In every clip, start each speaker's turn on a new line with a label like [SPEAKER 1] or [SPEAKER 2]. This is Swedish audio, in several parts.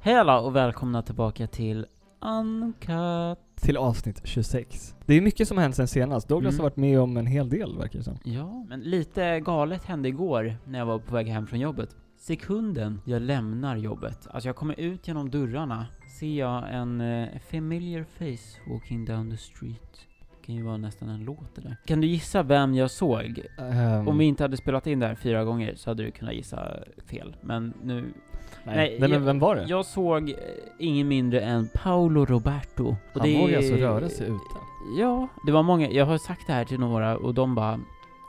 [SPEAKER 1] Hej alla och välkomna tillbaka till Uncut.
[SPEAKER 2] Till avsnitt 26. Det är mycket som har hänt sen senast. Douglas
[SPEAKER 1] Mm.
[SPEAKER 2] har varit med om en hel del verkar det som.
[SPEAKER 1] Ja, men lite galet hände igår när jag var på väg hem från jobbet. Sekunden jag lämnar jobbet, alltså jag kommer ut genom dörrarna, ser jag en eh, familiar face walking down the street. Det kan ju vara nästan en låt det där. Kan du gissa vem jag såg?
[SPEAKER 2] Ehm,
[SPEAKER 1] Om vi inte hade spelat in det här fyra gånger så hade du kunnat gissa fel, men nu...
[SPEAKER 2] nej.
[SPEAKER 1] nej,
[SPEAKER 2] Nej, men
[SPEAKER 1] jag-
[SPEAKER 2] vem var det?
[SPEAKER 1] Jag såg eh, ingen mindre än Paolo Roberto. Och
[SPEAKER 2] Han
[SPEAKER 1] det
[SPEAKER 2] vågar
[SPEAKER 1] är-
[SPEAKER 2] alltså röra sig ute.
[SPEAKER 1] Ja, det var många. Jag har sagt det här till några och de bara...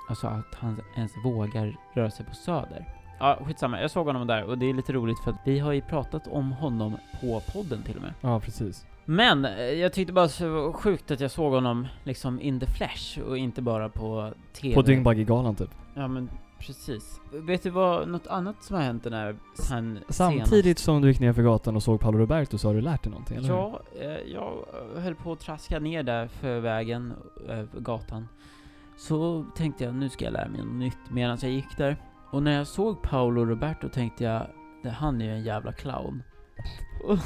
[SPEAKER 1] Alltså att han ens vågar röra sig på Söder. Ja, skitsamma. Jag såg honom där och det är lite roligt för att vi har ju pratat om honom på podden till och med.
[SPEAKER 2] Ja, precis.
[SPEAKER 1] Men eh, jag tyckte bara så det var sjukt att jag såg honom liksom in the flash och inte bara på TV.
[SPEAKER 2] På Dyngbaggegalan typ.
[SPEAKER 1] Ja men precis. Vet du vad, något annat som har hänt den här sen
[SPEAKER 2] Samtidigt som du gick ner för gatan och såg Paolo Roberto så har du lärt dig någonting, eller hur?
[SPEAKER 1] Ja, eh, jag höll på att traska ner där för vägen, eh, gatan. Så tänkte jag, nu ska jag lära mig något nytt medan jag gick där. Och när jag såg Paolo Roberto tänkte jag, "Det- han är ju en jävla clown. Och,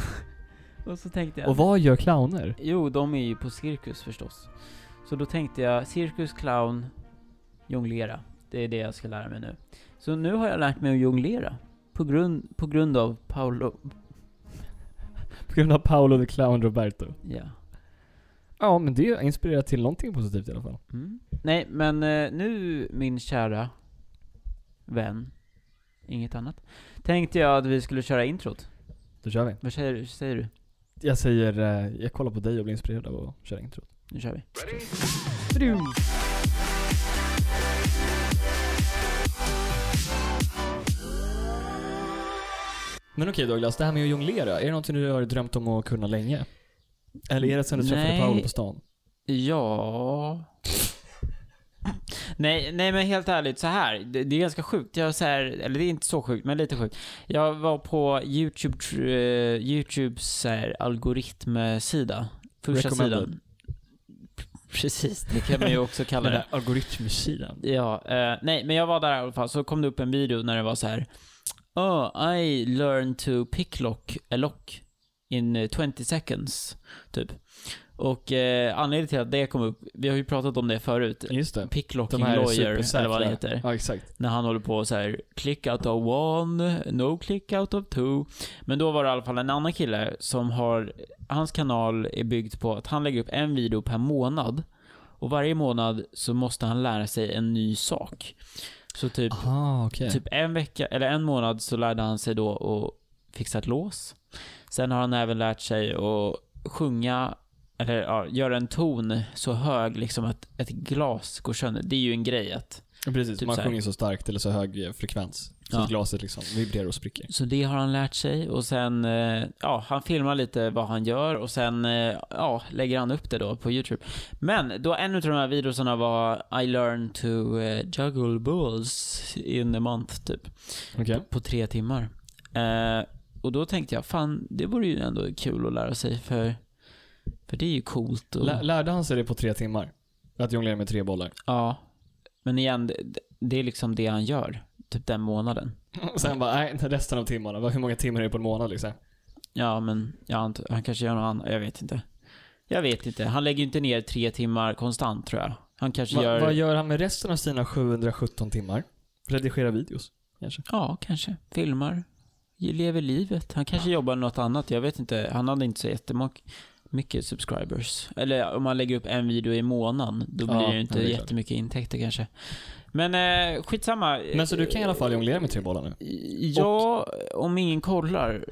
[SPEAKER 1] och så tänkte jag...
[SPEAKER 2] Och vad gör clowner?
[SPEAKER 1] Jo, de är ju på cirkus förstås. Så då tänkte jag, cirkus, clown, jonglera. Det är det jag ska lära mig nu. Så nu har jag lärt mig att jonglera. På grund, på grund av Paolo...
[SPEAKER 2] På grund av Paolo the Clown Roberto.
[SPEAKER 1] Ja.
[SPEAKER 2] Ja, men det inspirerar till någonting positivt i alla fall.
[SPEAKER 1] Mm. Nej, men eh, nu min kära vän, inget annat, tänkte jag att vi skulle köra introt.
[SPEAKER 2] Då kör vi.
[SPEAKER 1] Vad säger du? Säger du?
[SPEAKER 2] Jag säger, eh, jag kollar på dig och blir inspirerad av att köra introt.
[SPEAKER 1] Nu kör vi.
[SPEAKER 2] Men okej Douglas, det här med att jonglera, är det någonting du har drömt om att kunna länge? Eller är det sen du träffade
[SPEAKER 1] Nej.
[SPEAKER 2] Paolo på stan?
[SPEAKER 1] Ja... Nej, nej men helt ärligt så här. Det, det är ganska sjukt. Jag så här, eller det är inte så sjukt, men lite sjukt. Jag var på YouTube, tr- eh, YouTubes så här, algoritmsida. Första
[SPEAKER 2] Recommended.
[SPEAKER 1] sidan. Precis, det kan man ju också kalla det.
[SPEAKER 2] algoritmsidan.
[SPEAKER 1] Ja, eh, nej men jag var där i alla fall, så kom det upp en video när det var så här. Oh, I learned to picklock a lock in eh, 20 seconds, typ. Och eh, anledningen till att det kom upp, vi har ju pratat om det förut.
[SPEAKER 2] Just det.
[SPEAKER 1] Picklocking
[SPEAKER 2] De här är
[SPEAKER 1] lawyer,
[SPEAKER 2] supersäkra.
[SPEAKER 1] eller vad det heter.
[SPEAKER 2] Ja, exakt. Typ.
[SPEAKER 1] När han håller på så här, click out of one, no click out of two. Men då var det i alla fall en annan kille som har, hans kanal är byggd på att han lägger upp en video per månad. Och varje månad så måste han lära sig en ny sak. Så typ,
[SPEAKER 2] Aha, okej.
[SPEAKER 1] typ en vecka, eller en månad så lärde han sig då att fixa ett lås. Sen har han även lärt sig att sjunga, eller ja, göra en ton så hög liksom att ett glas går sönder. Det är ju en grej att
[SPEAKER 2] Precis,
[SPEAKER 1] typ
[SPEAKER 2] man
[SPEAKER 1] så här.
[SPEAKER 2] sjunger så starkt eller så hög eh, frekvens. Så
[SPEAKER 1] Ja.
[SPEAKER 2] att glaset liksom vibrerar och spricker.
[SPEAKER 1] Så det har han lärt sig och sen, eh, ja, han filmar lite vad han gör och sen, eh, ja, lägger han upp det då på YouTube. Men då en av de här videorna var I learned to eh, juggle balls in a month, typ.
[SPEAKER 2] Okej.
[SPEAKER 1] På tre timmar. Eh, och då tänkte jag, fan, det vore ju ändå kul att lära sig för, för det är ju coolt. Och,
[SPEAKER 2] Lä- Lärde han sig det på tre timmar? Att jonglera med tre bollar?
[SPEAKER 1] ja. Men igen, det, det är liksom det han gör, typ den månaden.
[SPEAKER 2] Och sen bara, nej, resten av timmarna. Vad- Hur många timmar är det på en månad liksom?
[SPEAKER 1] Ja, men jag antar, han kanske gör något annat. Jag vet inte. Jag vet inte. Han lägger ju inte ner tre timmar konstant tror jag. Han kanske
[SPEAKER 2] Va,
[SPEAKER 1] gör...
[SPEAKER 2] Vad gör han med resten av sina 717 timmar? Redigera videos, kanske?
[SPEAKER 1] Ja, kanske. Filmar. Lever livet. Han kanske jobbar något annat. Jag vet inte. Han hade inte så jättemånga mycket subscribers. Eller om man lägger upp en video i månaden, då
[SPEAKER 2] Ja,
[SPEAKER 1] blir det ju
[SPEAKER 2] ja,
[SPEAKER 1] inte
[SPEAKER 2] det är klart.
[SPEAKER 1] jättemycket intäkter kanske. Men eh, skitsamma.
[SPEAKER 2] Men så du kan i alla fall jonglera med tre bollar nu?
[SPEAKER 1] Ja, om ingen kollar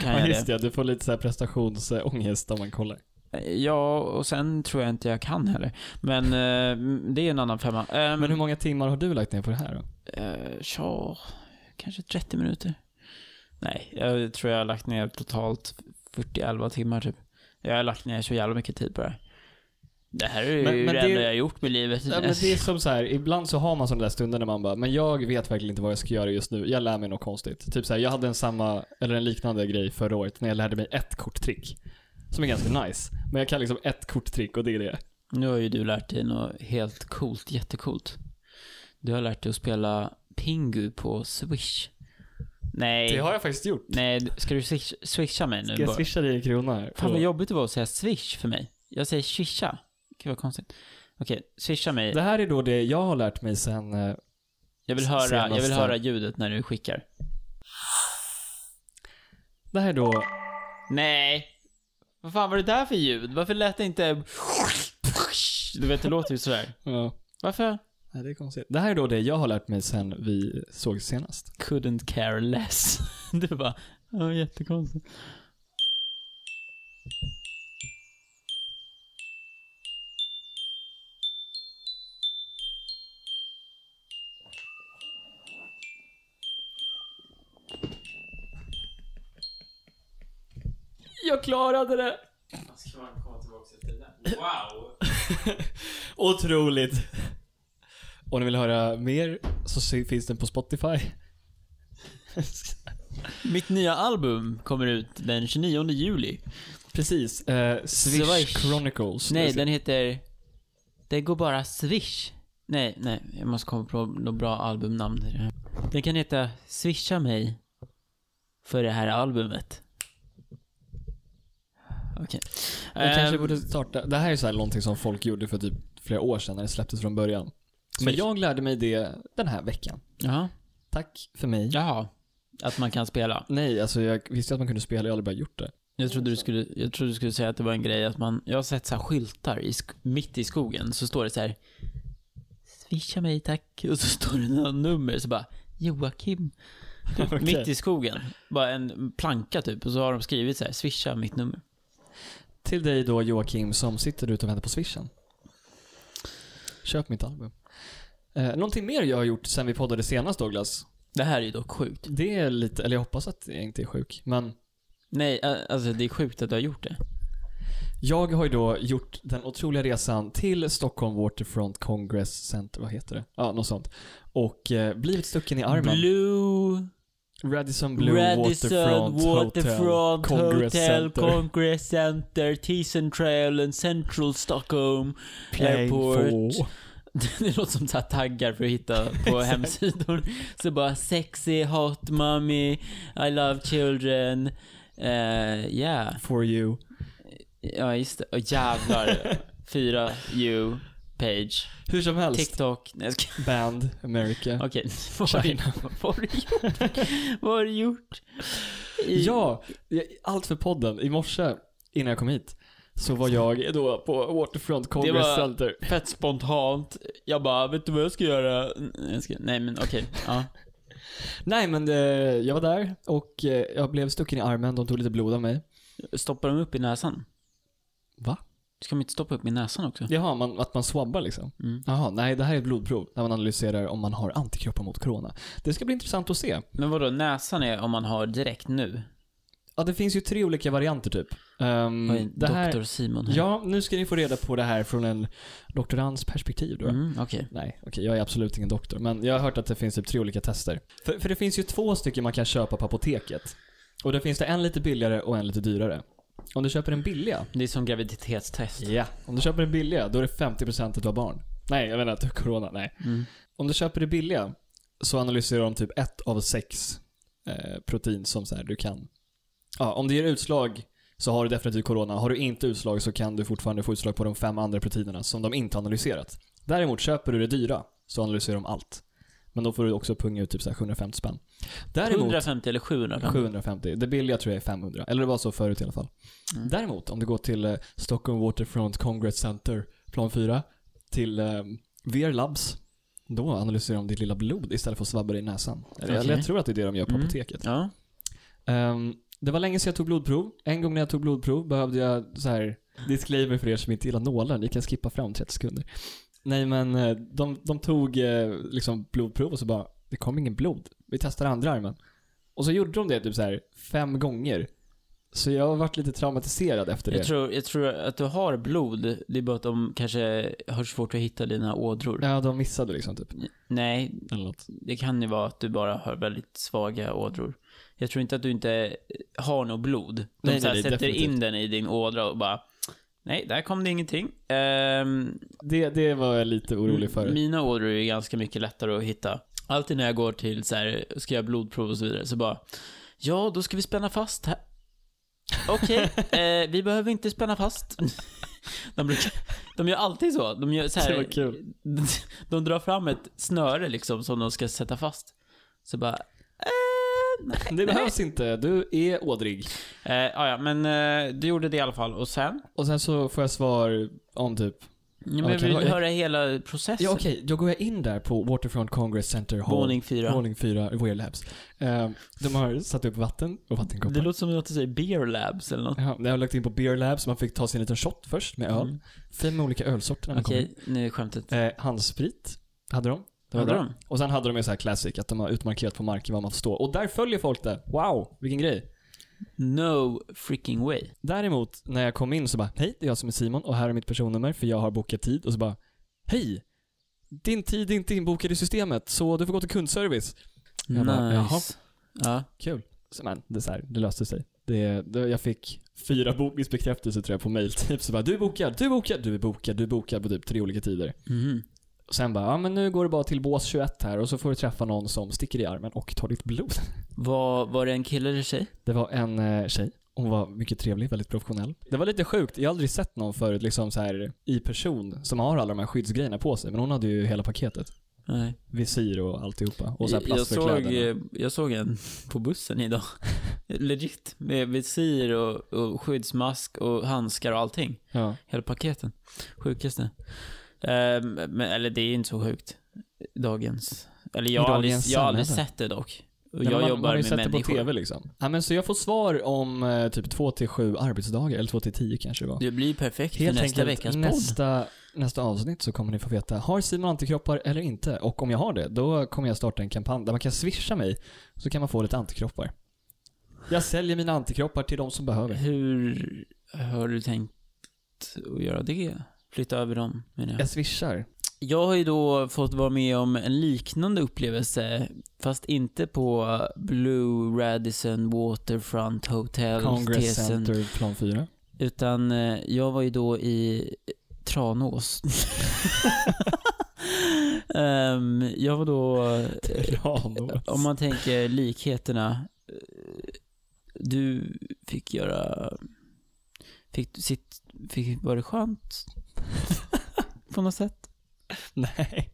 [SPEAKER 1] kan
[SPEAKER 2] Ja,
[SPEAKER 1] jag
[SPEAKER 2] just
[SPEAKER 1] det.
[SPEAKER 2] det. Du får lite så här prestationsångest om man kollar.
[SPEAKER 1] Eh, Ja, och sen tror jag inte jag kan heller. Men eh, det är en annan femma. Eh,
[SPEAKER 2] Men hur många timmar har du lagt ner på det här då?
[SPEAKER 1] Eh, tja, kanske 30 minuter. Nej, jag tror jag har lagt ner totalt 40-11 timmar typ. Jag har lagt ner så jävla mycket tid på det här. Det här är ju
[SPEAKER 2] Men- men
[SPEAKER 1] det
[SPEAKER 2] det-
[SPEAKER 1] enda jag har gjort med livet.
[SPEAKER 2] Ja, men det är som så här, ibland så har man sådana där stunder när man bara, men jag vet verkligen inte vad jag ska göra just nu. Jag lär mig något konstigt. Typ så här, jag hade en samma, eller en liknande grej förra året när jag lärde mig ett korttrick. Som är ganska nice. Men jag kan liksom ett korttrick och det är det.
[SPEAKER 1] Nu har ju du lärt dig något helt coolt, jättecoolt. Du har lärt dig att spela Pingu på Swish. Nej.
[SPEAKER 2] Det har jag faktiskt gjort.
[SPEAKER 1] Nej, du- ska du swish, swisha mig nu?
[SPEAKER 2] Ska jag
[SPEAKER 1] bara?
[SPEAKER 2] swisha dig en krona? här?
[SPEAKER 1] Fan vad
[SPEAKER 2] Och-
[SPEAKER 1] jobbigt det var att säga swish för mig. Jag säger swisha. Gud vad konstigt. Okej, swisha mig.
[SPEAKER 2] Det här är då det jag har lärt mig sen... eh,
[SPEAKER 1] Jag vill höra, jag vill
[SPEAKER 2] senaste-
[SPEAKER 1] höra ljudet när du skickar.
[SPEAKER 2] Det här är då...
[SPEAKER 1] Nej. Vad fan var det där för ljud? Varför lät det inte... Du vet, det låter ju sådär.
[SPEAKER 2] Ja.
[SPEAKER 1] Varför?
[SPEAKER 2] Nej, det är konstigt. Det här är då det jag har lärt mig sen vi såg senast.
[SPEAKER 1] Couldn't care less. Du bara, oh, jättekonstigt.
[SPEAKER 2] Jag klarade det!
[SPEAKER 1] Wow!
[SPEAKER 2] Otroligt! Om ni vill höra mer så se- finns den på Spotify.
[SPEAKER 1] Mitt nya album kommer ut den 29 juli.
[SPEAKER 2] Precis. Eh, Swish,
[SPEAKER 1] Swish.
[SPEAKER 2] Chronicles.
[SPEAKER 1] Nej, den heter... Det går bara swish. Nej, nej. Jag måste komma på något bra albumnamn. i det här. Den kan heta Swisha mig för det här albumet. Okej.
[SPEAKER 2] Vi kanske
[SPEAKER 1] Ehm,
[SPEAKER 2] borde starta. Det här är så här någonting som folk gjorde för typ flera år sedan när det släpptes från början. Men
[SPEAKER 1] Swish.
[SPEAKER 2] jag lärde mig det den här veckan.
[SPEAKER 1] Jaha.
[SPEAKER 2] Tack för mig.
[SPEAKER 1] Jaha. Att man kan spela.
[SPEAKER 2] Nej, alltså jag visste att man kunde spela, jag hade bara gjort det.
[SPEAKER 1] Jag trodde du skulle, jag trodde du skulle säga att det var en grej att man... Jag har sett så här skyltar i, sk- mitt i skogen. Så står det så här... Swisha mig tack. Och så står det några nummer. Så bara... Joakim.
[SPEAKER 2] Okej.
[SPEAKER 1] Mitt i skogen. Bara en planka typ. Och så har de skrivit så här, swisha mitt nummer.
[SPEAKER 2] Till dig då Joakim som sitter ute och väntar på swishen. Köp mitt album. Eh, någonting mer jag har gjort sen vi poddade senast Douglas.
[SPEAKER 1] Det här är ju dock sjukt.
[SPEAKER 2] Det är lite, eller jag hoppas att jag inte är sjuk, men
[SPEAKER 1] Nej, ä- alltså det är sjukt att du har gjort det.
[SPEAKER 2] jag har ju då gjort den otroliga resan till Stockholm Waterfront Congress Center, vad heter det? Ja, något sånt. Och eh, blivit stucken i armen.
[SPEAKER 1] Blue,
[SPEAKER 2] Radisson Blue
[SPEAKER 1] Radisson
[SPEAKER 2] Waterfront,
[SPEAKER 1] Waterfront
[SPEAKER 2] Hotel,
[SPEAKER 1] Hotel,
[SPEAKER 2] Congress Center.
[SPEAKER 1] Congress Center, Thyssen Trail and Central Stockholm.
[SPEAKER 2] Plane
[SPEAKER 1] Airport.
[SPEAKER 2] four.
[SPEAKER 1] Det låter som så här taggar för att hitta på hemsidor. Så bara sexy, hot mommy, I love children. Eh, yeah.
[SPEAKER 2] For you.
[SPEAKER 1] Ja, just det. Och jävlar. Fyra, you, page,
[SPEAKER 2] Hur som helst.
[SPEAKER 1] TikTok. Nej, jag ska...
[SPEAKER 2] Band, America.
[SPEAKER 1] Okej. Vad har du-
[SPEAKER 2] China.
[SPEAKER 1] Vad har du gjort? Vad har du gjort? I-
[SPEAKER 2] Ja, jag- allt för podden. I morse, innan jag kom hit, så var jag då på Waterfront Congress
[SPEAKER 1] var-
[SPEAKER 2] Center.
[SPEAKER 1] Fett spontant. Jag bara, vet du vad jag ska göra? Mm, Jag ska... Nej men okej. Ja.
[SPEAKER 2] Nej men eh, jag var där och eh, jag blev stucken i armen, de tog lite blod av mig.
[SPEAKER 1] Stoppar de upp i näsan?
[SPEAKER 2] Va?
[SPEAKER 1] Ska de inte stoppa upp i näsan också?
[SPEAKER 2] Jaha, man, att man swabbar liksom.
[SPEAKER 1] Mm.
[SPEAKER 2] Jaha, nej det här är ett blodprov där man analyserar om man har antikroppar mot corona. Det ska bli intressant att se.
[SPEAKER 1] Men vadå, näsan är om man har direkt nu?
[SPEAKER 2] Ja, det finns ju tre olika varianter typ. Ehm,
[SPEAKER 1] Vad är
[SPEAKER 2] det här,
[SPEAKER 1] Doktor Simon här?
[SPEAKER 2] ja, nu ska ni få reda på det här från en doktorands perspektiv då.
[SPEAKER 1] Mm, okej.
[SPEAKER 2] Nej, okej, jag är absolut ingen doktor. Men jag har hört att det finns typ tre olika tester. För, för det finns ju två stycken man kan köpa på apoteket. Och då finns det en lite billigare och en lite dyrare. Om du köper den billiga.
[SPEAKER 1] Det är som graviditetstest.
[SPEAKER 2] Ja. Om du köper den billiga, då är det 50% att du har barn. Nej, jag menar att du har corona. Nej.
[SPEAKER 1] Mm.
[SPEAKER 2] Om du köper det billiga så analyserar de typ ett av sex eh, protein som så här, du kan. Ja, om det ger utslag så har du definitivt corona. Har du inte utslag så kan du fortfarande få utslag på de fem andra proteinerna som de inte har analyserat. Däremot köper du det dyra så analyserar de allt. Men då får du också punga ut typ så här 750 spänn. Däremot,
[SPEAKER 1] 150 eller 700?
[SPEAKER 2] 750. Det billiga tror jag är 500. Eller det var så förut i alla fall.
[SPEAKER 1] Mm.
[SPEAKER 2] Däremot, om du går till eh, Stockholm Waterfront Congress Center, plan 4, till eh, VR Labs, då analyserar de ditt lilla blod istället för att svabba dig i näsan. Eller
[SPEAKER 1] Okej.
[SPEAKER 2] Jag, jag tror att det är det de gör på
[SPEAKER 1] Mm.
[SPEAKER 2] apoteket.
[SPEAKER 1] Ja.
[SPEAKER 2] Ehm, det var länge sedan jag tog blodprov. En gång när jag tog blodprov behövde jag så här disclaimer för er som inte gillar nålar. Ni kan skippa fram 30 sekunder. Nej men eh, de, de tog eh, liksom blodprov och så bara, det kom ingen blod. Vi testar andra armen. Och så gjorde de det typ så här fem gånger. Så jag har varit lite traumatiserad efter det.
[SPEAKER 1] Jag tror, jag tror att du har blod, det är bara att de kanske har svårt att hitta dina ådror.
[SPEAKER 2] Ja, de missade liksom typ.
[SPEAKER 1] Nej,
[SPEAKER 2] Eller något.
[SPEAKER 1] det kan ju vara att du bara har väldigt svaga ådror. Jag tror inte att du inte har något blod. De
[SPEAKER 2] Nej,
[SPEAKER 1] så här
[SPEAKER 2] nej, nej,
[SPEAKER 1] sätter
[SPEAKER 2] definitivt.
[SPEAKER 1] in den i din ådra och bara, nej, där kom det ingenting. Ehm,
[SPEAKER 2] Det, det var jag lite orolig för.
[SPEAKER 1] Mm, Mina ådror är ganska mycket lättare att hitta. Alltid när jag går till så här, ska jag blodprov och så vidare, så bara, ja, då ska vi spänna fast här. Okej, eh, vi behöver inte spänna fast. De, brukar, de gör alltid så. De gör så
[SPEAKER 2] Det
[SPEAKER 1] här,
[SPEAKER 2] var kul.
[SPEAKER 1] de drar fram ett snöre liksom som de ska sätta fast. Så bara, eh, nej.
[SPEAKER 2] Det behövs inte, du är ådrig.
[SPEAKER 1] Eh, ja, ja, men eh, du gjorde det i alla fall. Och sen?
[SPEAKER 2] Och sen så får jag svar om typ...
[SPEAKER 1] Ja, men
[SPEAKER 2] Okej,
[SPEAKER 1] vi vill
[SPEAKER 2] vad-
[SPEAKER 1] höra hela processen.
[SPEAKER 2] Ja okej, då går jag in där på Waterfront Congress Center Hall.
[SPEAKER 1] Våning fyra.
[SPEAKER 2] Våning fyra, Weir Labs. Eh, de har satt upp vatten och vattenkoppar.
[SPEAKER 1] Det låter som att du säger beer labs eller något.
[SPEAKER 2] Ja, jag har lagt in på Beer Labs, man fick ta sin liten shot först med öl.
[SPEAKER 1] Mm.
[SPEAKER 2] Fem olika ölsorter när man kom
[SPEAKER 1] Okej,
[SPEAKER 2] in.
[SPEAKER 1] nu är skämtet.
[SPEAKER 2] Eh, handsprit hade de. Det var
[SPEAKER 1] Hade
[SPEAKER 2] bra.
[SPEAKER 1] de?
[SPEAKER 2] Och sen hade de ju så här classic, att de har utmarkerat på marken var man får stå. Och där följer folk det. Wow, vilken grej.
[SPEAKER 1] No freaking way.
[SPEAKER 2] Däremot, när jag kom in så bara, hej, det är jag som är Simon och här är mitt personnummer för jag har bokat tid. Och så bara, hej! Din tid är inte inbokad i systemet, så du får gå till kundservice. Jag bara, jaha.
[SPEAKER 1] nice. Ja.
[SPEAKER 2] Kul. Så, men, det, är så här, det löste sig. Det, det, jag fick fyra bokningsbekräftelser tror jag på mail. Typ så bara, du är bokad, du är bokad, du är bokad, du är bokad på typ tre olika tider.
[SPEAKER 1] Mhm.
[SPEAKER 2] Och sen bara, ja men nu går det bara till bås 21 här och så får du träffa någon som sticker i armen och tar ditt blod.
[SPEAKER 1] Var, var det en kille eller tjej?
[SPEAKER 2] Det var en eh, tjej. Hon var mycket trevlig, väldigt professionell. Det var lite sjukt. Jag har aldrig sett någon förut liksom så här i person som har alla de här skyddsgrejerna på sig. Men hon hade ju hela paketet.
[SPEAKER 1] Nej.
[SPEAKER 2] Visir och alltihopa. Och så här
[SPEAKER 1] Jag- jag, såg,
[SPEAKER 2] plastförkläden.
[SPEAKER 1] eh, jag såg en på bussen idag. Legit. Med visir och, och skyddsmask och handskar och allting.
[SPEAKER 2] Ja.
[SPEAKER 1] Hela paketen. Sjukaste. Ehm, men, eller det är inte så sjukt. Dagens. Eller jag
[SPEAKER 2] I
[SPEAKER 1] har aldrig,
[SPEAKER 2] dagens
[SPEAKER 1] jag har aldrig
[SPEAKER 2] samhälle.
[SPEAKER 1] sett det dock. Och
[SPEAKER 2] Nej, men
[SPEAKER 1] jag
[SPEAKER 2] man,
[SPEAKER 1] jobbar
[SPEAKER 2] man har ju
[SPEAKER 1] med
[SPEAKER 2] sett
[SPEAKER 1] människor.
[SPEAKER 2] det på TV liksom. Ja, men så jag får svar om eh, typ 2 till 7 arbetsdagar, eller 2 till 10 kanske det var.
[SPEAKER 1] Det blir perfekt för nästa veckas podd.
[SPEAKER 2] nästa, nästa avsnitt så kommer ni få veta, har Simon antikroppar eller inte? Och om jag har det, då kommer jag starta en kampanj där man kan swisha mig, så kan man få lite antikroppar. Jag säljer mina antikroppar till de som behöver.
[SPEAKER 1] Hur har du tänkt att göra det? Flytta över dem, menar jag.
[SPEAKER 2] Jag swishar.
[SPEAKER 1] Jag har ju då fått vara med om en liknande upplevelse, fast inte på Blue Radisson Waterfront Hotel,
[SPEAKER 2] Congress
[SPEAKER 1] Tesen,
[SPEAKER 2] Center plan 4.
[SPEAKER 1] utan eh, jag var ju då i Tranås. Ehm, jag var då, eh, om man tänker likheterna, eh, du fick göra, fick, sitt, fick, var det skönt? på något sätt?
[SPEAKER 2] Nej.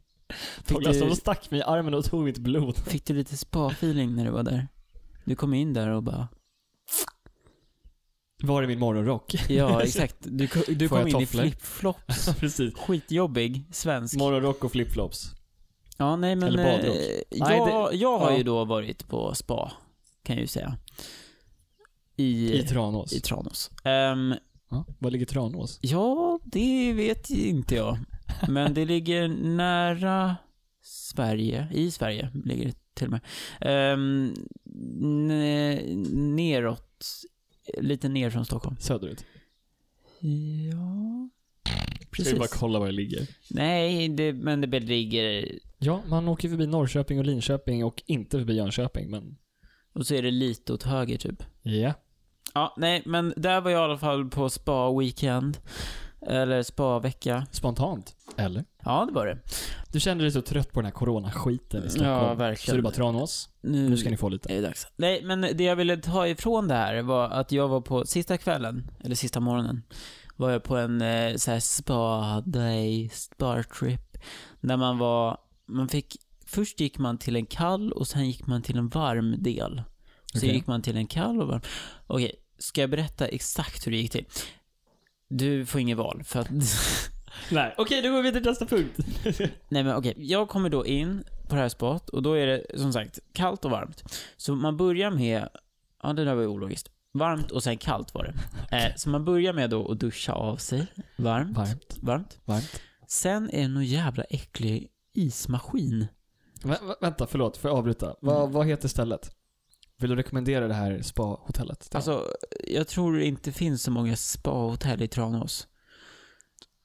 [SPEAKER 1] Fick
[SPEAKER 2] Douglas,
[SPEAKER 1] du-
[SPEAKER 2] de stack mig i armen och tog mitt blod.
[SPEAKER 1] Fick du lite spa-feeling när du var där? Du kom in där och bara...
[SPEAKER 2] Var är min morgonrock?
[SPEAKER 1] Ja, exakt. Du, ko- du
[SPEAKER 2] Får
[SPEAKER 1] kom
[SPEAKER 2] jag
[SPEAKER 1] in i
[SPEAKER 2] tofflor?
[SPEAKER 1] flip-flops.
[SPEAKER 2] Precis.
[SPEAKER 1] Skitjobbig svensk.
[SPEAKER 2] Morgonrock och flipflops.
[SPEAKER 1] Ja, nej men...
[SPEAKER 2] Eller badrock.
[SPEAKER 1] eh,
[SPEAKER 2] Nej,
[SPEAKER 1] jag, jag har
[SPEAKER 2] ja.
[SPEAKER 1] ju då varit på spa, kan jag ju säga. I,
[SPEAKER 2] I Tranås.
[SPEAKER 1] i Tranås. Ehm,
[SPEAKER 2] Ja. Var ligger Tranås?
[SPEAKER 1] ja, det vet ju inte jag. Men det ligger nära Sverige. I Sverige ligger det till och med. Ehm, ne- neråt. Lite ner från Stockholm.
[SPEAKER 2] Söderut.
[SPEAKER 1] Ja,
[SPEAKER 2] Ska vi bara
[SPEAKER 1] precis.
[SPEAKER 2] kolla var det ligger?
[SPEAKER 1] Nej, det, men det ligger...
[SPEAKER 2] Ja, man åker förbi Norrköping och Linköping och inte förbi Jönköping, men...
[SPEAKER 1] Och så är det lite åt höger typ.
[SPEAKER 2] Ja.
[SPEAKER 1] Ja, nej, men där var jag i alla fall på spa-weekend. Eller spa-vecka.
[SPEAKER 2] Spontant. Eller?
[SPEAKER 1] Ja, det var det.
[SPEAKER 2] Du kände dig så trött på den här coronaskiten i Stockholm.
[SPEAKER 1] Ja, verkligen.
[SPEAKER 2] Så du bara Tranås,
[SPEAKER 1] Nu,
[SPEAKER 2] nu ska ni få lite.
[SPEAKER 1] är det dags. Nej, men det jag ville ta ifrån det här var att jag var på sista kvällen, eller sista morgonen, var jag på en eh, så här spa-day, spa-trip. Där man var, man fick, först gick man till en kall och sen gick man till en varm del. Så
[SPEAKER 2] Okej.
[SPEAKER 1] gick man till en kall och varm. Okej, ska jag berätta exakt hur det gick till? Du får inget val, för att...
[SPEAKER 2] Nej, okej, då går vi till nästa punkt.
[SPEAKER 1] Nej men okej, jag kommer då in på det här spat och då är det som sagt kallt och varmt. Så man börjar med, ja det där var ju ologiskt. Varmt och sen kallt var det. Eh, så man börjar med då att duscha av sig. Varmt.
[SPEAKER 2] Varmt.
[SPEAKER 1] Varmt.
[SPEAKER 2] Varmt.
[SPEAKER 1] Sen är det någon jävla äcklig ismaskin.
[SPEAKER 2] Vä- vä- vänta, förlåt, får jag avbryta? Vad- vad heter stället? Vill du rekommendera det här spa-hotellet? till alla?
[SPEAKER 1] Alltså, jag tror det inte finns så många spahotell i Tranås.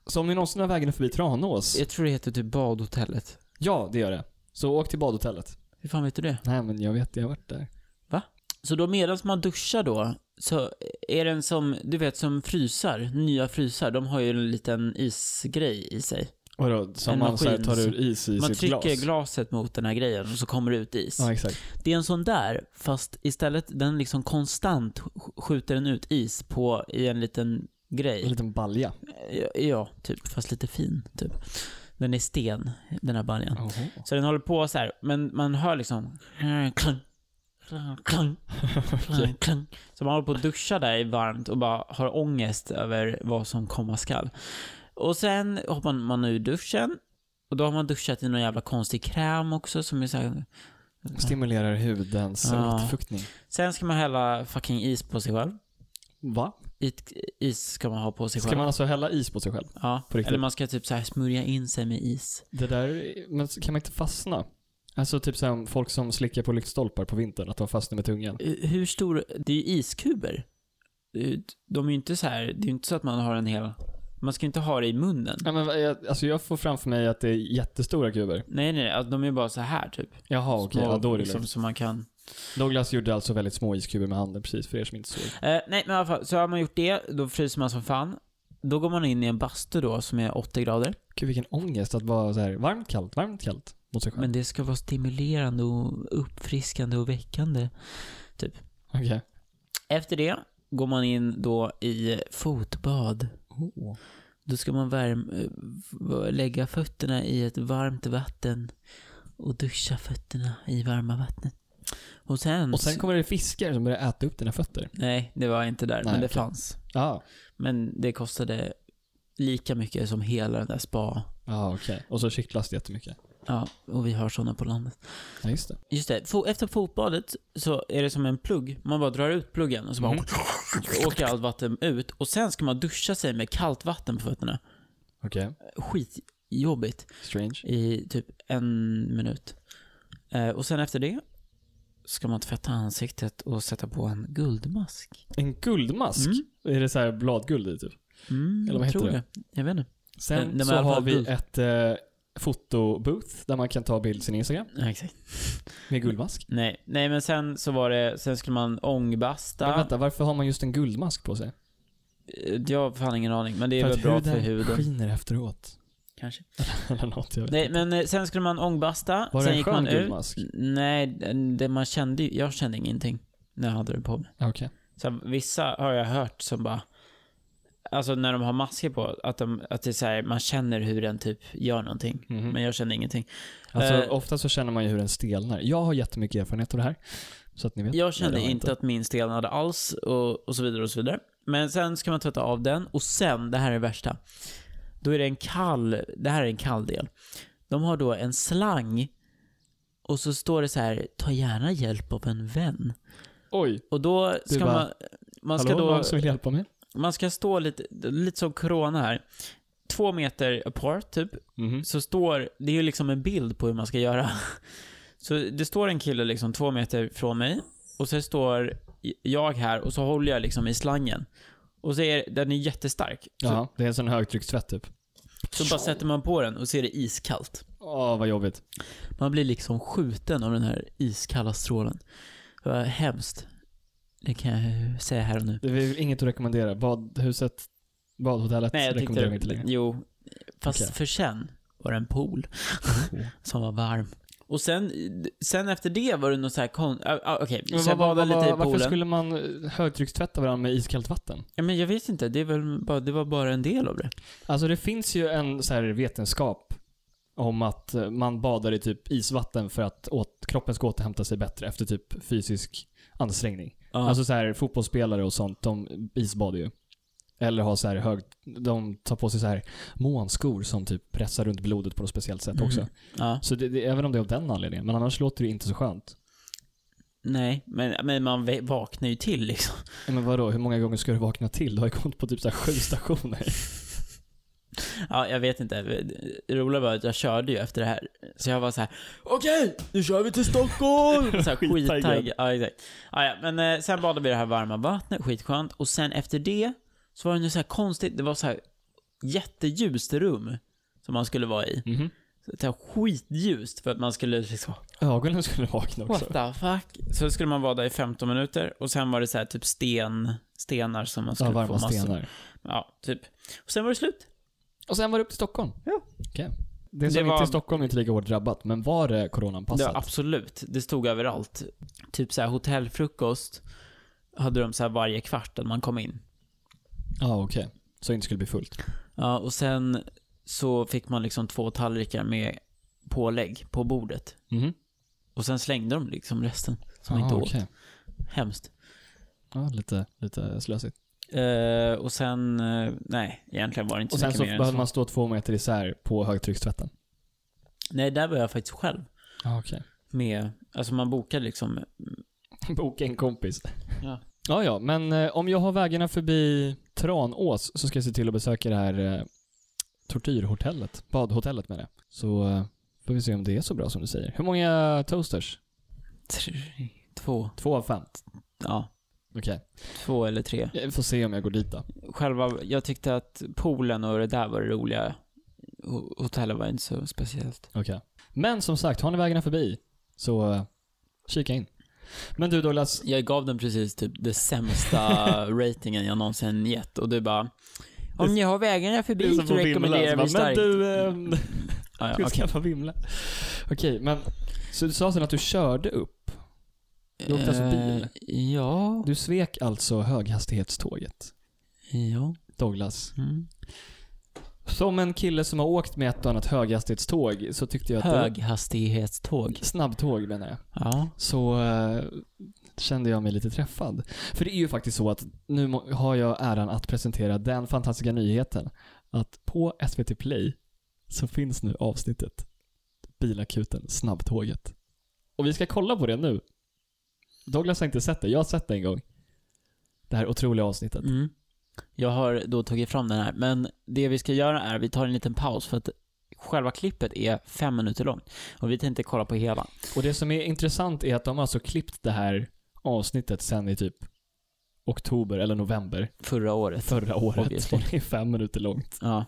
[SPEAKER 2] Så om ni någonsin har vägen förbi Tranås?
[SPEAKER 1] Jag tror det heter typ badhotellet.
[SPEAKER 2] Ja, det gör det. Så åk till badhotellet.
[SPEAKER 1] Hur fan vet du det?
[SPEAKER 2] Nej, men jag vet, jag har varit där.
[SPEAKER 1] Så då medan man duschar då, så är den som, du vet som frysar, nya frysar, de har ju en liten isgrej i sig.
[SPEAKER 2] Vadå? Som
[SPEAKER 1] En
[SPEAKER 2] man så här,
[SPEAKER 1] maskin
[SPEAKER 2] tar ur is i
[SPEAKER 1] Man
[SPEAKER 2] sitt glas?
[SPEAKER 1] trycker glaset mot den här grejen och så kommer det ut is.
[SPEAKER 2] Ja, exakt.
[SPEAKER 1] Det är en sån där, fast istället den liksom konstant sk- skjuter den ut is på i en liten
[SPEAKER 2] En
[SPEAKER 1] grej.
[SPEAKER 2] liten balja.
[SPEAKER 1] Ja, Ja, typ. Fast lite fin, typ. Den är sten, den här baljan. Så den håller på så här, men man hör liksom klang, klang, klang, klang, klang. Så man håller på att duscha där i varmt och bara har ångest över vad som komma skall. Och sen hoppar man ur duschen och då har man duschat i någon jävla konstig kräm också som är så här,
[SPEAKER 2] Stimulerar hudens
[SPEAKER 1] Ja.
[SPEAKER 2] utfuktning.
[SPEAKER 1] Sen ska man hälla fucking is på sig själv.
[SPEAKER 2] Va?
[SPEAKER 1] It, is ska man ha på sig
[SPEAKER 2] Ska
[SPEAKER 1] själv.
[SPEAKER 2] man alltså hälla is på sig själv?
[SPEAKER 1] Ja,
[SPEAKER 2] På riktigt?
[SPEAKER 1] eller man ska typ så här smörja in sig med is.
[SPEAKER 2] Det där, men kan man inte fastna? Alltså typ så här, om folk som slickar på lyktstolpar på vintern, att de fastnar med tungan.
[SPEAKER 1] Eh, Hur stor, det är ju iskuber. Eh, De är ju inte så här, det är ju inte så att man har en hel, man ska ju inte ha det i munnen.
[SPEAKER 2] Ja, men, vad- jag, alltså jag får framför mig att det är jättestora kuber.
[SPEAKER 1] Nej, nej, nej, alltså, de är ju bara så här typ.
[SPEAKER 2] Jaha, okej.
[SPEAKER 1] Små,
[SPEAKER 2] Ja, då är det
[SPEAKER 1] liksom,
[SPEAKER 2] lugnt.
[SPEAKER 1] som man kan.
[SPEAKER 2] Douglas gjorde alltså väldigt små iskuber med handen, precis för er som inte såg.
[SPEAKER 1] Eh, nej, men i alla fall, så har man gjort det, då fryser man som fan. Då går man in i en bastu då som är 80 grader.
[SPEAKER 2] Gud vilken ångest att vara så här varmt, kallt, varmt, kallt mot sig själv.
[SPEAKER 1] Men det ska vara stimulerande och uppfriskande och väckande.
[SPEAKER 2] Okej.
[SPEAKER 1] Efter det går man in då i fotbad. Då ska man värm, eh, v- lägga fötterna i ett varmt vatten och duscha fötterna i varma vattnet. Och sen...
[SPEAKER 2] Och sen kommer det fiskar som börjar äta upp dina fötter.
[SPEAKER 1] Nej, det var inte där,
[SPEAKER 2] Nej,
[SPEAKER 1] men det
[SPEAKER 2] okej.
[SPEAKER 1] fanns.
[SPEAKER 2] Ja. Ah.
[SPEAKER 1] Men det kostade lika mycket som hela den där spa.
[SPEAKER 2] Ja, okej. Och så kittlas det jättemycket.
[SPEAKER 1] Ja, och vi har sådana på landet.
[SPEAKER 2] Ja, just det.
[SPEAKER 1] Just det, fo- efter fotbadet så är det som en plugg. Man bara drar ut pluggen och så bara
[SPEAKER 2] Mhm.
[SPEAKER 1] åker allt vatten ut. Och sen ska man duscha sig med kallt vatten på fötterna.
[SPEAKER 2] Okej.
[SPEAKER 1] Skitjobbigt
[SPEAKER 2] Strange.
[SPEAKER 1] i typ en minut. Eh, och sen efter det ska man tvätta ansiktet och sätta på en guldmask.
[SPEAKER 2] En guldmask? Är det så här bladguld i typ?
[SPEAKER 1] Mm,
[SPEAKER 2] Eller vad
[SPEAKER 1] jag
[SPEAKER 2] heter
[SPEAKER 1] tror
[SPEAKER 2] det?
[SPEAKER 1] det? Jag vet inte. Eh,
[SPEAKER 2] Sen
[SPEAKER 1] nej, men i
[SPEAKER 2] så
[SPEAKER 1] alla
[SPEAKER 2] har
[SPEAKER 1] fall
[SPEAKER 2] vi
[SPEAKER 1] guld.
[SPEAKER 2] ett eh, fotobooth där man kan ta bild sin Instagram
[SPEAKER 1] Ja, exakt.
[SPEAKER 2] med guldmask.
[SPEAKER 1] Nej, nej, men sen så var det, sen skulle man
[SPEAKER 2] Men
[SPEAKER 1] ångbasta.
[SPEAKER 2] vänta, varför har man just en guldmask på sig?
[SPEAKER 1] Eh, Jag har fan ingen aning, men det är väl
[SPEAKER 2] att
[SPEAKER 1] bra för huden.
[SPEAKER 2] skiner efteråt.
[SPEAKER 1] Kanske.
[SPEAKER 2] Eller något, jag vet
[SPEAKER 1] Nej,
[SPEAKER 2] inte.
[SPEAKER 1] men eh, sen skulle man ångbasta.
[SPEAKER 2] Var
[SPEAKER 1] sen
[SPEAKER 2] det en
[SPEAKER 1] gick
[SPEAKER 2] skön
[SPEAKER 1] man ut.
[SPEAKER 2] guldmask?
[SPEAKER 1] Nej, det man kände ju- jag kände ingenting när jag hade den på mig.
[SPEAKER 2] Ja, Okej.
[SPEAKER 1] Så här, vissa har jag hört som bara, alltså när de har masker på, att, de, att det är så här, man känner hur den typ gör någonting.
[SPEAKER 2] Mhm.
[SPEAKER 1] Men jag kände ingenting.
[SPEAKER 2] Alltså,
[SPEAKER 1] Mm-hmm. Eh,
[SPEAKER 2] ofta så känner man ju hur den stelnar. Jag har jättemycket erfarenhet av det här. Så att ni vet.
[SPEAKER 1] Jag kände
[SPEAKER 2] Nej, det har
[SPEAKER 1] inte,
[SPEAKER 2] jag
[SPEAKER 1] att min stelnade alls och, och så vidare och så vidare. Men sen ska man tvätta av den och sen, det här är det värsta. Då är det en kall, det här är en kall del. De har då en slang och så står det så här, ta gärna hjälp av en vän.
[SPEAKER 2] Oj,
[SPEAKER 1] Och då
[SPEAKER 2] Du
[SPEAKER 1] ska
[SPEAKER 2] bara,
[SPEAKER 1] man, man ska
[SPEAKER 2] hallå,
[SPEAKER 1] då,
[SPEAKER 2] någon som vill hjälpa mig?
[SPEAKER 1] man ska stå lite, lite som corona här. Två meter apart typ,
[SPEAKER 2] Mhm.
[SPEAKER 1] så står, det är ju liksom en bild på hur man ska göra. Så det står en kille liksom två meter från mig och så står jag här och så håller jag liksom i slangen. Och så är den är jättestark. Så,
[SPEAKER 2] Ja, det är en sån högtryckstvätt typ.
[SPEAKER 1] så bara sätter man på den och så är det iskallt.
[SPEAKER 2] Åh, vad jobbigt.
[SPEAKER 1] Man blir liksom skjuten av den här iskalla strålen. Det var hemskt. Det kan jag eh, säga här och nu.
[SPEAKER 2] Det är väl inget att rekommendera. Badhuset, badhotellet
[SPEAKER 1] Nej, jag
[SPEAKER 2] rekommenderar vi
[SPEAKER 1] tyckte...
[SPEAKER 2] inte längre.
[SPEAKER 1] Jo. Fast
[SPEAKER 2] Okej.
[SPEAKER 1] för sen var det en pool som var varm. Och sen, sen efter det var det något så här kon... ah, ah, Okej,
[SPEAKER 2] Men
[SPEAKER 1] så jag
[SPEAKER 2] vad-
[SPEAKER 1] badade
[SPEAKER 2] vad-
[SPEAKER 1] lite i
[SPEAKER 2] varför
[SPEAKER 1] poolen.
[SPEAKER 2] skulle man eh, högtryckstvätta varandra med iskallt vatten?
[SPEAKER 1] Ja, men jag vet inte, det, är väl bara, det var bara en del av det.
[SPEAKER 2] Alltså det finns ju en så här vetenskap om att eh, man badar i typ isvatten för att åt, kroppen ska återhämta sig bättre efter typ fysisk ansträngning.
[SPEAKER 1] Ja.
[SPEAKER 2] Alltså så här fotbollsspelare och sånt, de isbadar ju. Eller har så här hög, de tar på sig så här månskor som typ pressar runt blodet på något speciellt sätt också.
[SPEAKER 1] Mhm. ja.
[SPEAKER 2] Så det, det, även om det är av den anledningen, men annars låter det inte så skönt.
[SPEAKER 1] Nej, men, men man ve- vaknar ju till liksom.
[SPEAKER 2] Ja, Men vadå, hur många gånger ska du vakna till? Du har ju gått på typ så här sju stationer.
[SPEAKER 1] Ja, jag vet inte. Det roliga var att jag körde ju efter det här. Så jag var så här: okej, nu kör vi till Stockholm! så här,
[SPEAKER 2] Skittaggad.
[SPEAKER 1] skittaggad. Ja, exakt. Ja, ja, men eh, sen badade vi i det här varma vattnet, skitskönt. Och sen efter det, så var det ju så här konstigt, det var så här jätteljust rum som man skulle vara i.
[SPEAKER 2] Mhm.
[SPEAKER 1] Så det var skitljust för att man skulle liksom
[SPEAKER 2] Ögonen skulle vakna också.
[SPEAKER 1] What the fuck? Så skulle man vara där i 15 minuter och sen var det så här typ sten, stenar som man skulle
[SPEAKER 2] Ja,
[SPEAKER 1] få
[SPEAKER 2] varma
[SPEAKER 1] massor.
[SPEAKER 2] stenar.
[SPEAKER 1] Ja, typ. Och sen var det slut.
[SPEAKER 2] Och sen var det upp till Stockholm.
[SPEAKER 3] Ja.
[SPEAKER 2] Okej. Det som
[SPEAKER 1] Det var-
[SPEAKER 2] inte i Stockholm är inte lika hårt drabbat, men var det
[SPEAKER 1] Det
[SPEAKER 2] coronanpassat?
[SPEAKER 1] var absolut. Det stod överallt. Typ så här hotellfrukost hade de så här varje kvart när man kom in.
[SPEAKER 2] Ja, ah, okej. Så det inte skulle bli fullt.
[SPEAKER 1] Ja, och sen så fick man liksom två tallrikar med pålägg på bordet.
[SPEAKER 2] Mhm.
[SPEAKER 1] Och sen slängde de liksom resten som man inte åt.
[SPEAKER 2] Ah, okej.
[SPEAKER 1] Hemskt.
[SPEAKER 2] Ja, lite, lite slösigt.
[SPEAKER 1] Eh, och sen, eh, nej, egentligen var det inte så
[SPEAKER 2] Och sen
[SPEAKER 1] mycket
[SPEAKER 2] så
[SPEAKER 1] mer än så.
[SPEAKER 2] behöver man stå två meter isär på högtryckstvätten.
[SPEAKER 1] Nej, där var jag faktiskt själv.
[SPEAKER 2] Ah, okej.
[SPEAKER 1] Med, alltså man bokade liksom.
[SPEAKER 2] Boka en kompis.
[SPEAKER 1] Ja.
[SPEAKER 2] Ja, ja, men eh, om jag har vägarna förbi Tranås så ska jag se till att besöka det här eh, tortyrhotellet. Badhotellet med det. Så eh, får vi se om det är så bra som du säger. Hur många toasters?
[SPEAKER 1] Tre, två,
[SPEAKER 2] Två av fem?
[SPEAKER 1] ja,
[SPEAKER 2] Okej.
[SPEAKER 1] två eller tre.
[SPEAKER 2] Jag får se om jag går dit då.
[SPEAKER 1] Själva, jag tyckte att poolen och det där var det roliga. Ho- Hotellet var inte så speciellt.
[SPEAKER 2] Okej. Men som sagt, har ni vägarna förbi så eh, kika in. Men du Douglas,
[SPEAKER 1] Jag gav den precis typ det sämsta ratingen jag någonsin gett och du bara om ni har vägarna förbi så rekommenderar vi
[SPEAKER 2] Men
[SPEAKER 1] starkt.
[SPEAKER 2] du, ehm,
[SPEAKER 1] Ja, ja,
[SPEAKER 2] ska
[SPEAKER 1] okej.
[SPEAKER 2] skaffa vimla. Okej, men så du sa sen att du körde upp. du åkte alltså bil?
[SPEAKER 1] Eh, Ja,
[SPEAKER 2] Du svek alltså höghastighetståget,
[SPEAKER 1] ja.
[SPEAKER 2] Douglas.
[SPEAKER 1] Mm.
[SPEAKER 2] Som en kille som har åkt med ett och annat höghastighetståg så tyckte jag att...
[SPEAKER 1] Höghastighetståg.
[SPEAKER 2] Snabbtåg menar jag.
[SPEAKER 1] Ja.
[SPEAKER 2] Så eh, kände jag mig lite träffad. För det är ju faktiskt så att nu må- har jag äran att presentera den fantastiska nyheten att på SVT Play så finns nu avsnittet Bilakuten Snabbtåget. Och vi ska kolla på det nu. Douglas har inte sett det, jag har sett det en gång. Det här otroliga avsnittet.
[SPEAKER 1] Mm. Jag har då tagit fram den här, men det vi ska göra är vi tar en liten paus för att själva klippet är fem minuter långt och vi tänkte kolla på hela.
[SPEAKER 2] Och det som är intressant är att de har alltså klippt det här avsnittet sen i typ oktober eller november
[SPEAKER 1] Förra året.
[SPEAKER 2] förra året.
[SPEAKER 1] Obviously.
[SPEAKER 2] Och det är fem minuter långt.
[SPEAKER 1] Ja.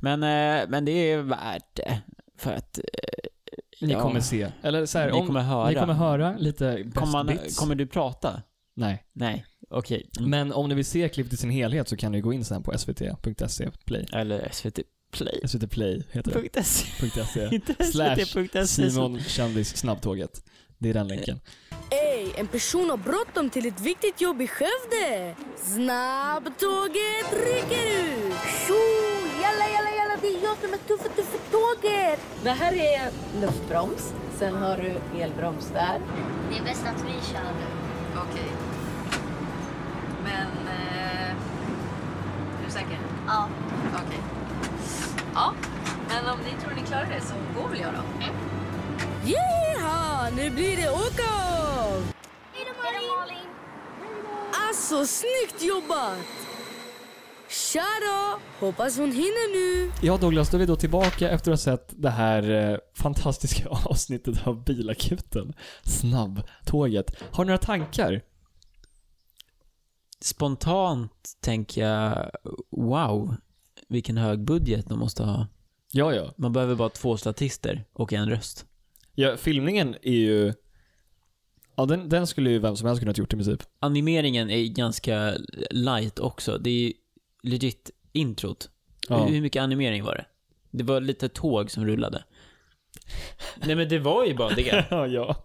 [SPEAKER 1] Men, eh, men det är värt det. För att eh,
[SPEAKER 2] Ni
[SPEAKER 1] Ja.
[SPEAKER 2] kommer se. Eller så här,
[SPEAKER 1] ni
[SPEAKER 2] om,
[SPEAKER 1] kommer höra.
[SPEAKER 2] Ni kommer höra lite best
[SPEAKER 1] Kommer man,
[SPEAKER 2] bits.
[SPEAKER 1] kommer du prata?
[SPEAKER 2] Nej.
[SPEAKER 1] Nej, okej. Mm.
[SPEAKER 2] Men om ni vill se klippet i sin helhet så kan ni gå in sen på svt.se play.
[SPEAKER 1] Eller SVT Play.
[SPEAKER 2] SVT play heter det.
[SPEAKER 1] Punkt .se.
[SPEAKER 2] Punkt .se.
[SPEAKER 1] Inte
[SPEAKER 2] Slash
[SPEAKER 1] SVT.se.
[SPEAKER 2] Simon Kändis Snabbtåget. Det är den länken.
[SPEAKER 4] Ej, en person har bråttom till ett viktigt jobb i Skövde. Snabbtåget rycker ut! Tjo! Jalla, jalla, jalla, det är jag som är tuffe, tuffe tåget!
[SPEAKER 5] Det här är luftbroms. Sen har du elbroms där.
[SPEAKER 6] Det är bäst att vi kör nu.
[SPEAKER 5] Okej. Men... Eh, är du säker?
[SPEAKER 6] Ja.
[SPEAKER 5] Okej. Ja, men om ni tror ni klarar det så går väl jag då.
[SPEAKER 4] Jeha, nu blir det åka av!
[SPEAKER 6] Hej då Malin!
[SPEAKER 4] Alltså, snyggt jobbat! Tja då! Hoppas hon hinner nu.
[SPEAKER 2] Ja Douglas, då är vi då tillbaka efter att ha sett det här eh, fantastiska avsnittet av Bilakuten. Snabbtåget. Har ni några tankar?
[SPEAKER 1] Spontant tänker jag, wow, vilken hög budget de måste ha.
[SPEAKER 2] Ja, ja.
[SPEAKER 1] Man behöver bara två statister och en röst.
[SPEAKER 2] ja filmningen är ju... Ja, den, den skulle ju vem som helst kunnat gjort i princip.
[SPEAKER 1] Animeringen är ganska light också. Det är legit introt.
[SPEAKER 2] Ja.
[SPEAKER 1] Hur mycket animering var det? Det var lite tåg som rullade. Nej men det var ju bara det.
[SPEAKER 2] Ja, ja.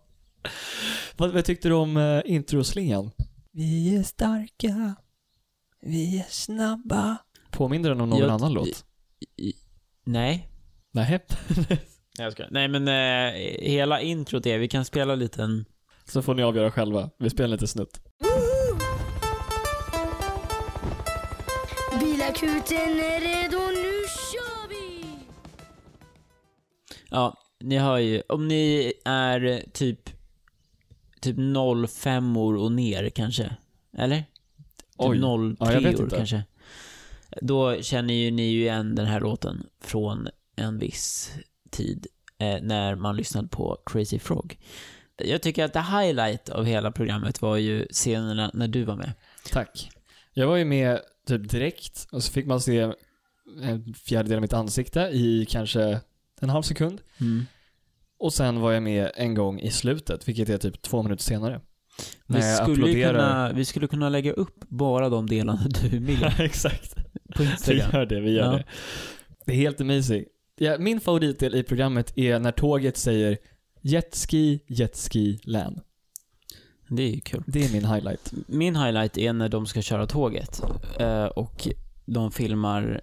[SPEAKER 2] Vad, vad tyckte du om eh, introslingan?
[SPEAKER 7] Vi är starka. Vi är snabba.
[SPEAKER 2] Påminner den om någon
[SPEAKER 1] Jag-
[SPEAKER 2] annan låt?
[SPEAKER 1] Nej.
[SPEAKER 2] Nej.
[SPEAKER 1] Nej, jag skojar. Nej men eh, hela introt är, vi kan spela en liten...
[SPEAKER 2] Så får ni avgöra själva. Vi spelar lite snutt.
[SPEAKER 4] Bilakuten är redo, nu kör vi!
[SPEAKER 1] Ja, ni hör ju. Om ni är typ... Typ 05 or och ner kanske. Eller?
[SPEAKER 2] Oj.
[SPEAKER 1] Typ 03
[SPEAKER 2] Ja, jag vet
[SPEAKER 1] or
[SPEAKER 2] inte.
[SPEAKER 1] kanske. Då känner ju ni ju igen den här låten från en viss tid eh, när man lyssnade på Crazy Frog. Jag tycker att the highlight av hela programmet var ju scenerna när du var med.
[SPEAKER 2] Tack. Jag var ju med typ direkt och så fick man se en fjärdedel av mitt ansikte i kanske en halv sekund. Och sen var jag med en gång i slutet, vilket är typ två minuter senare.
[SPEAKER 1] Vi, skulle ju kunna, vi skulle kunna lägga upp bara de delarna du är med
[SPEAKER 2] Exakt.
[SPEAKER 1] på
[SPEAKER 2] Vi
[SPEAKER 1] Instagram.
[SPEAKER 2] gör det, vi gör
[SPEAKER 1] Ja.
[SPEAKER 2] det. Det är helt amazing. Ja, min favoritdel i programmet är när tåget säger Jetski, Jetski, län.
[SPEAKER 1] Det är ju kul.
[SPEAKER 2] Det är min highlight.
[SPEAKER 1] Min highlight är när de ska köra tåget eh, och de filmar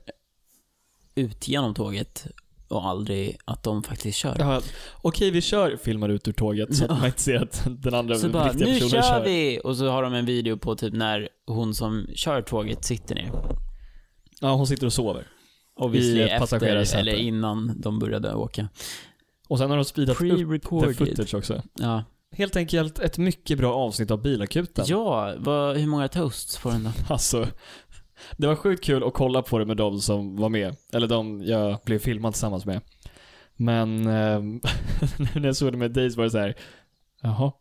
[SPEAKER 1] ut genom tåget och aldrig att de faktiskt kör.
[SPEAKER 2] Ja, Okej, vi kör, filmar ut ur tåget så att man inte ser att den andra
[SPEAKER 1] Så bara,
[SPEAKER 2] riktiga
[SPEAKER 1] nu
[SPEAKER 2] personen
[SPEAKER 1] kör, vi! Och så har de en video på typ när hon som kör tåget sitter ner.
[SPEAKER 2] Ja, hon sitter och sover.
[SPEAKER 1] Och vi
[SPEAKER 2] I ett
[SPEAKER 1] ser efter,
[SPEAKER 2] passagerarsäte.
[SPEAKER 1] eller innan de började åka.
[SPEAKER 2] Och sen har de speedat upp the
[SPEAKER 1] Pre-recorded.
[SPEAKER 2] footage också.
[SPEAKER 1] Ja,
[SPEAKER 2] Helt enkelt ett mycket bra avsnitt av Bilakuten.
[SPEAKER 1] ja vad, hur många toasts får den då?
[SPEAKER 2] Alltså, det var sjukt kul att kolla på det med de som var med. Eller de jag blev filmad tillsammans med. Men ehm, nu när jag såg det med dig så var det så här. Jaha,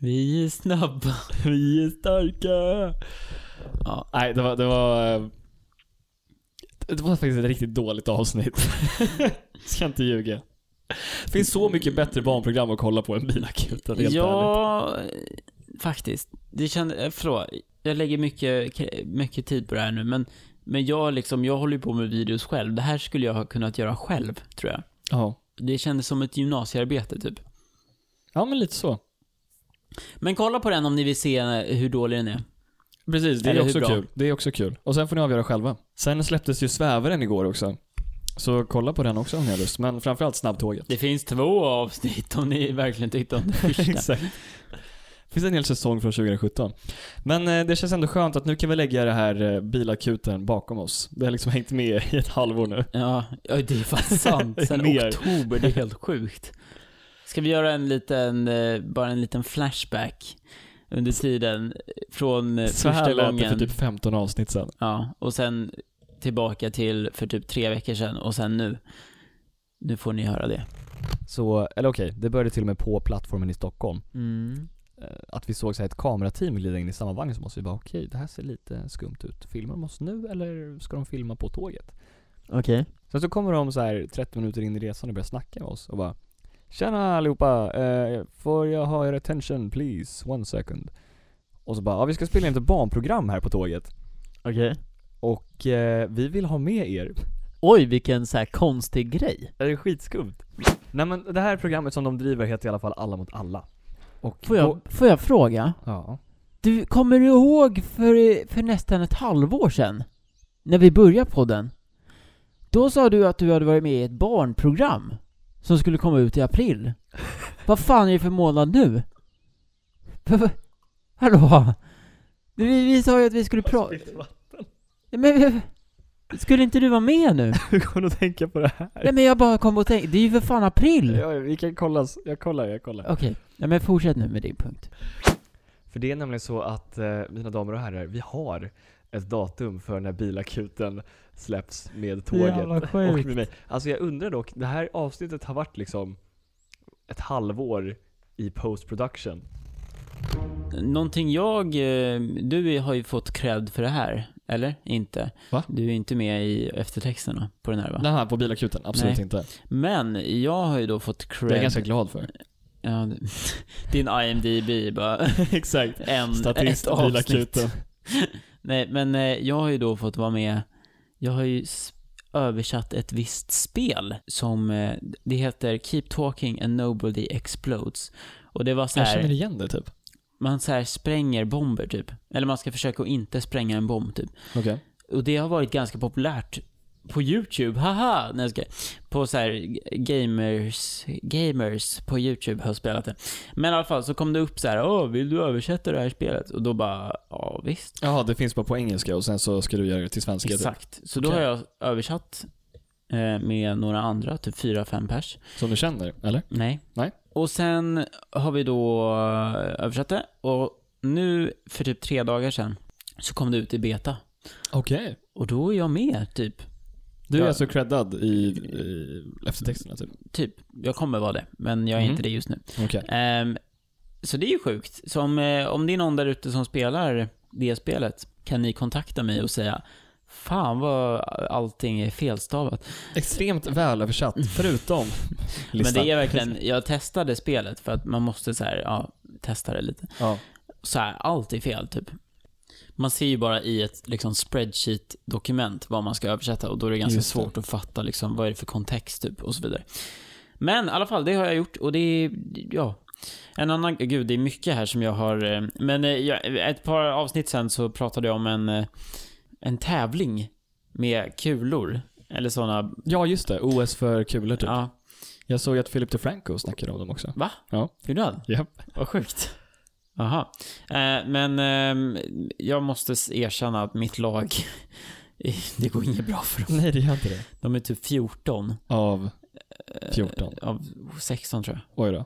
[SPEAKER 1] Vi är snabba.
[SPEAKER 2] vi är starka.
[SPEAKER 1] Ja.
[SPEAKER 2] Nej, det var, det var... eh, Det var faktiskt ett riktigt dåligt avsnitt. Ska inte ljuga. Det finns så mycket bättre barnprogram att kolla på än Bilakuten, helt ärligt.
[SPEAKER 1] ja, eh, faktiskt. Det kände, förlåt, jag lägger mycket, k- mycket tid på det här nu, men, men jag, liksom, jag håller ju på med videos själv. Det här skulle jag ha kunnat göra själv, tror jag.
[SPEAKER 2] Ja.
[SPEAKER 1] Det kändes som ett gymnasiearbete, typ.
[SPEAKER 2] ja, men lite så.
[SPEAKER 1] Men kolla på den om ni vill se eh, hur dålig den är.
[SPEAKER 2] Precis, det
[SPEAKER 1] Eller
[SPEAKER 2] är
[SPEAKER 1] hur
[SPEAKER 2] också
[SPEAKER 1] bra?
[SPEAKER 2] kul. Det är också kul. Och sen får ni avgöra själva. Sen släpptes ju Svävaren igår också. Så kolla på den också om ni har lust. Men framförallt Snabbtåget.
[SPEAKER 1] Det finns två avsnitt om ni verkligen tyckte om det första.
[SPEAKER 2] Exakt. finns en hel säsong från 2017. Men eh, det känns ändå skönt att nu kan vi lägga det här eh, bilakuten bakom oss. Det har liksom hängt med i ett halvår
[SPEAKER 3] Eh,
[SPEAKER 2] nu.
[SPEAKER 1] Ja, ja, det är fan sant. Sen
[SPEAKER 2] Mer.
[SPEAKER 1] oktober, det är helt sjukt. Ska vi göra en liten, eh, bara en liten flashback under tiden eh, från eh,
[SPEAKER 2] Så här
[SPEAKER 1] första
[SPEAKER 2] lät det för
[SPEAKER 1] gången.
[SPEAKER 2] typ 15 avsnitt sedan.
[SPEAKER 1] Ja, och sen tillbaka till för typ tre veckor sedan och sen nu. Nu får ni höra det.
[SPEAKER 3] Så, eller okej, det började till och med på plattformen i Stockholm.
[SPEAKER 1] Mm.
[SPEAKER 3] Eh, Att vi såg så här ett kamerateam glida in i samma vagn så måste vi bara okej, det här ser lite skumt ut. Filmar de oss nu eller ska de filma på tåget?
[SPEAKER 1] Okej.
[SPEAKER 3] Sen så kommer de så här 30 minuter in i resan och börjar snacka med oss och bara Tjena allihopa, eh, får jag ha er attention please, one second. Och så bara, ja vi ska spela in ett barnprogram här på tåget.
[SPEAKER 1] Okej.
[SPEAKER 3] Och eh, vi vill ha med er.
[SPEAKER 1] Oj, vilken så här konstig grej.
[SPEAKER 3] Det är skitskumt. Nej men det här programmet som de driver heter i alla fall Alla mot alla. Och på-
[SPEAKER 1] får jag fråga?
[SPEAKER 3] Ja.
[SPEAKER 1] Du, kommer du ihåg för, för nästan ett halvår sedan? När vi började podden? Då sa du att du hade varit med i ett barnprogram som skulle komma ut i april. Vad fan är det för månad nu? Va- va- Hallå? Vi, vi sa ju att vi skulle prata... Men... men- Skulle inte du vara med nu?
[SPEAKER 3] Hur kommer du att tänka på det här?
[SPEAKER 1] Nej men jag bara kom och tänkte, det är ju för fan april!
[SPEAKER 3] Ja, vi kan kolla, s- jag kollar, jag kollar.
[SPEAKER 1] Okej, ja, men fortsätt nu med din punkt.
[SPEAKER 3] För det är nämligen så att, eh, mina damer och herrar, vi har ett datum för när bilakuten släpps med tåget.
[SPEAKER 1] Jävla
[SPEAKER 3] Och
[SPEAKER 1] sjukt.
[SPEAKER 3] med mig. Alltså jag undrar dock, det här avsnittet har varit liksom ett halvår i post production.
[SPEAKER 1] Någonting jag... eh, Du har ju fått cred för det här, eller? Inte?
[SPEAKER 2] Va?
[SPEAKER 1] Du är inte med i eftertexterna på den här va?
[SPEAKER 2] Den här på bilakuten, absolut
[SPEAKER 1] Nej.
[SPEAKER 2] inte.
[SPEAKER 1] Men jag har ju då fått
[SPEAKER 2] Det
[SPEAKER 1] cred...
[SPEAKER 2] är jag ganska glad för.
[SPEAKER 1] ja, d- Din IMDB bara...
[SPEAKER 2] Exakt.
[SPEAKER 1] En,
[SPEAKER 2] Statist
[SPEAKER 1] ett avsnitt.
[SPEAKER 2] bilakuten.
[SPEAKER 1] Nej, men eh, jag har ju då fått vara med... Jag har ju s- översatt ett visst spel som... eh, Det heter Keep Talking and Nobody Explodes. Och det var så
[SPEAKER 2] Jag
[SPEAKER 1] här...
[SPEAKER 2] känner igen det typ.
[SPEAKER 1] man så här spränger bomber typ. Eller man ska försöka att inte spränga en bomb typ.
[SPEAKER 2] Okej.
[SPEAKER 1] Och det har varit ganska populärt på YouTube, haha! Nej, jag skojar. På så här g- gamers, gamers på YouTube har spelat det. Men i alla fall så kom det upp så här, åh, vill du översätta det här spelet? Och då bara, ja visst.
[SPEAKER 2] Jaha, det finns bara på engelska och sen så ska du göra det till svenska. typ.
[SPEAKER 1] Exakt. Så då
[SPEAKER 2] Okej.
[SPEAKER 1] har jag översatt eh, med några andra, typ fyra fem pers.
[SPEAKER 2] Som du känner, eller?
[SPEAKER 1] Nej.
[SPEAKER 2] Nej.
[SPEAKER 1] Och sen har vi då eh, översatt det och nu för typ tre dagar sedan så kom det ut i beta.
[SPEAKER 2] Okej.
[SPEAKER 1] Och då är jag med, typ.
[SPEAKER 2] Du är
[SPEAKER 1] Ja.
[SPEAKER 2] alltså creddad i, i eftertexterna typ?
[SPEAKER 1] Typ. Jag kommer vara det, men jag är
[SPEAKER 2] Mhm.
[SPEAKER 1] inte det just nu.
[SPEAKER 2] Okej.
[SPEAKER 1] Ehm, så det är ju sjukt. Så om, eh, om det är någon där ute som spelar det spelet, kan ni kontakta mig och säga Fan vad allting är felstavat.
[SPEAKER 2] Extremt välöversatt, förutom
[SPEAKER 1] Men
[SPEAKER 2] listan.
[SPEAKER 1] det är verkligen, jag testade spelet för att man måste så här, ja, testa det lite.
[SPEAKER 2] Ja.
[SPEAKER 1] Så här, allt är fel typ. Man ser ju bara i ett liksom, spreadsheet-dokument vad man ska översätta och då är det ganska
[SPEAKER 2] Just det.
[SPEAKER 1] svårt att fatta liksom, vad är det för kontext typ och så vidare. Men i alla fall, det har jag gjort och det är, ja. En annan, gud det är mycket här som jag har, eh, men eh, jag- ett par avsnitt sen så pratade jag om en, eh, en tävling med kulor. Eller sådana,
[SPEAKER 2] Ja, just det. OS för kulor typ.
[SPEAKER 1] ja.
[SPEAKER 2] Jag såg att Philip DeFranco snackade om dem också.
[SPEAKER 1] Va?
[SPEAKER 2] Ja.
[SPEAKER 1] Gjorde han?
[SPEAKER 2] Japp.
[SPEAKER 1] Vad sjukt. Aha. Eh, men ehm, jag måste s- erkänna att mitt lag, eh, det går inget bra för dem.
[SPEAKER 2] Nej, det gör inte det.
[SPEAKER 1] De är typ 14
[SPEAKER 2] Av
[SPEAKER 1] eh,
[SPEAKER 2] 14.
[SPEAKER 1] av 16 tror jag.
[SPEAKER 2] Oj då.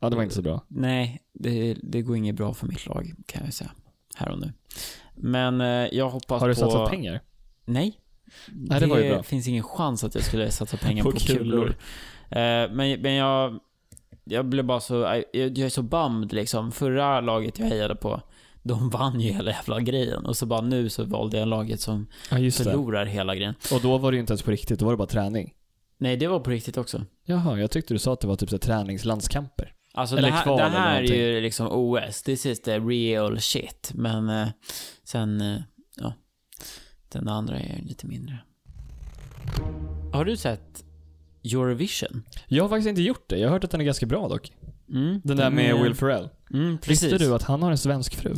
[SPEAKER 2] Ja, det var inte så bra.
[SPEAKER 1] Nej, det, det går inget bra för mitt lag kan jag säga. Här och nu. Men eh, jag hoppas
[SPEAKER 2] Har du
[SPEAKER 1] på...
[SPEAKER 2] satsat pengar?
[SPEAKER 1] Nej.
[SPEAKER 2] Nej, det var ju bra.
[SPEAKER 1] finns ingen chans att jag skulle satsa pengar på,
[SPEAKER 2] På
[SPEAKER 1] kulor.
[SPEAKER 2] kulor.
[SPEAKER 1] Eh, men, men jag... Jag blev bara så... Jag, jag är så bummed liksom. Förra laget jag hejade på, de vann ju hela jävla grejen. Och så bara nu så valde jag laget som
[SPEAKER 2] Ja, just det.
[SPEAKER 1] förlorar hela grejen.
[SPEAKER 2] Och då var det ju inte ens på riktigt, då var det bara träning.
[SPEAKER 1] Nej, det var på riktigt också.
[SPEAKER 2] Jaha, jag tyckte du sa att det var typ så här träningslandskamper.
[SPEAKER 1] Alltså
[SPEAKER 2] Eller
[SPEAKER 1] det här,
[SPEAKER 2] kval
[SPEAKER 1] det
[SPEAKER 2] eller
[SPEAKER 1] här är ju
[SPEAKER 2] någonting.
[SPEAKER 1] liksom OS. This is the real shit. Men eh, sen, eh, ja. Den andra är ju lite mindre. Har du sett Eurovision?
[SPEAKER 2] Jag har faktiskt inte gjort det. Jag har hört att den är ganska bra dock.
[SPEAKER 1] Mm,
[SPEAKER 2] Den där med
[SPEAKER 1] är-
[SPEAKER 2] Will Ferrell.
[SPEAKER 1] Mm, precis.
[SPEAKER 2] Visste du att han har en svensk fru?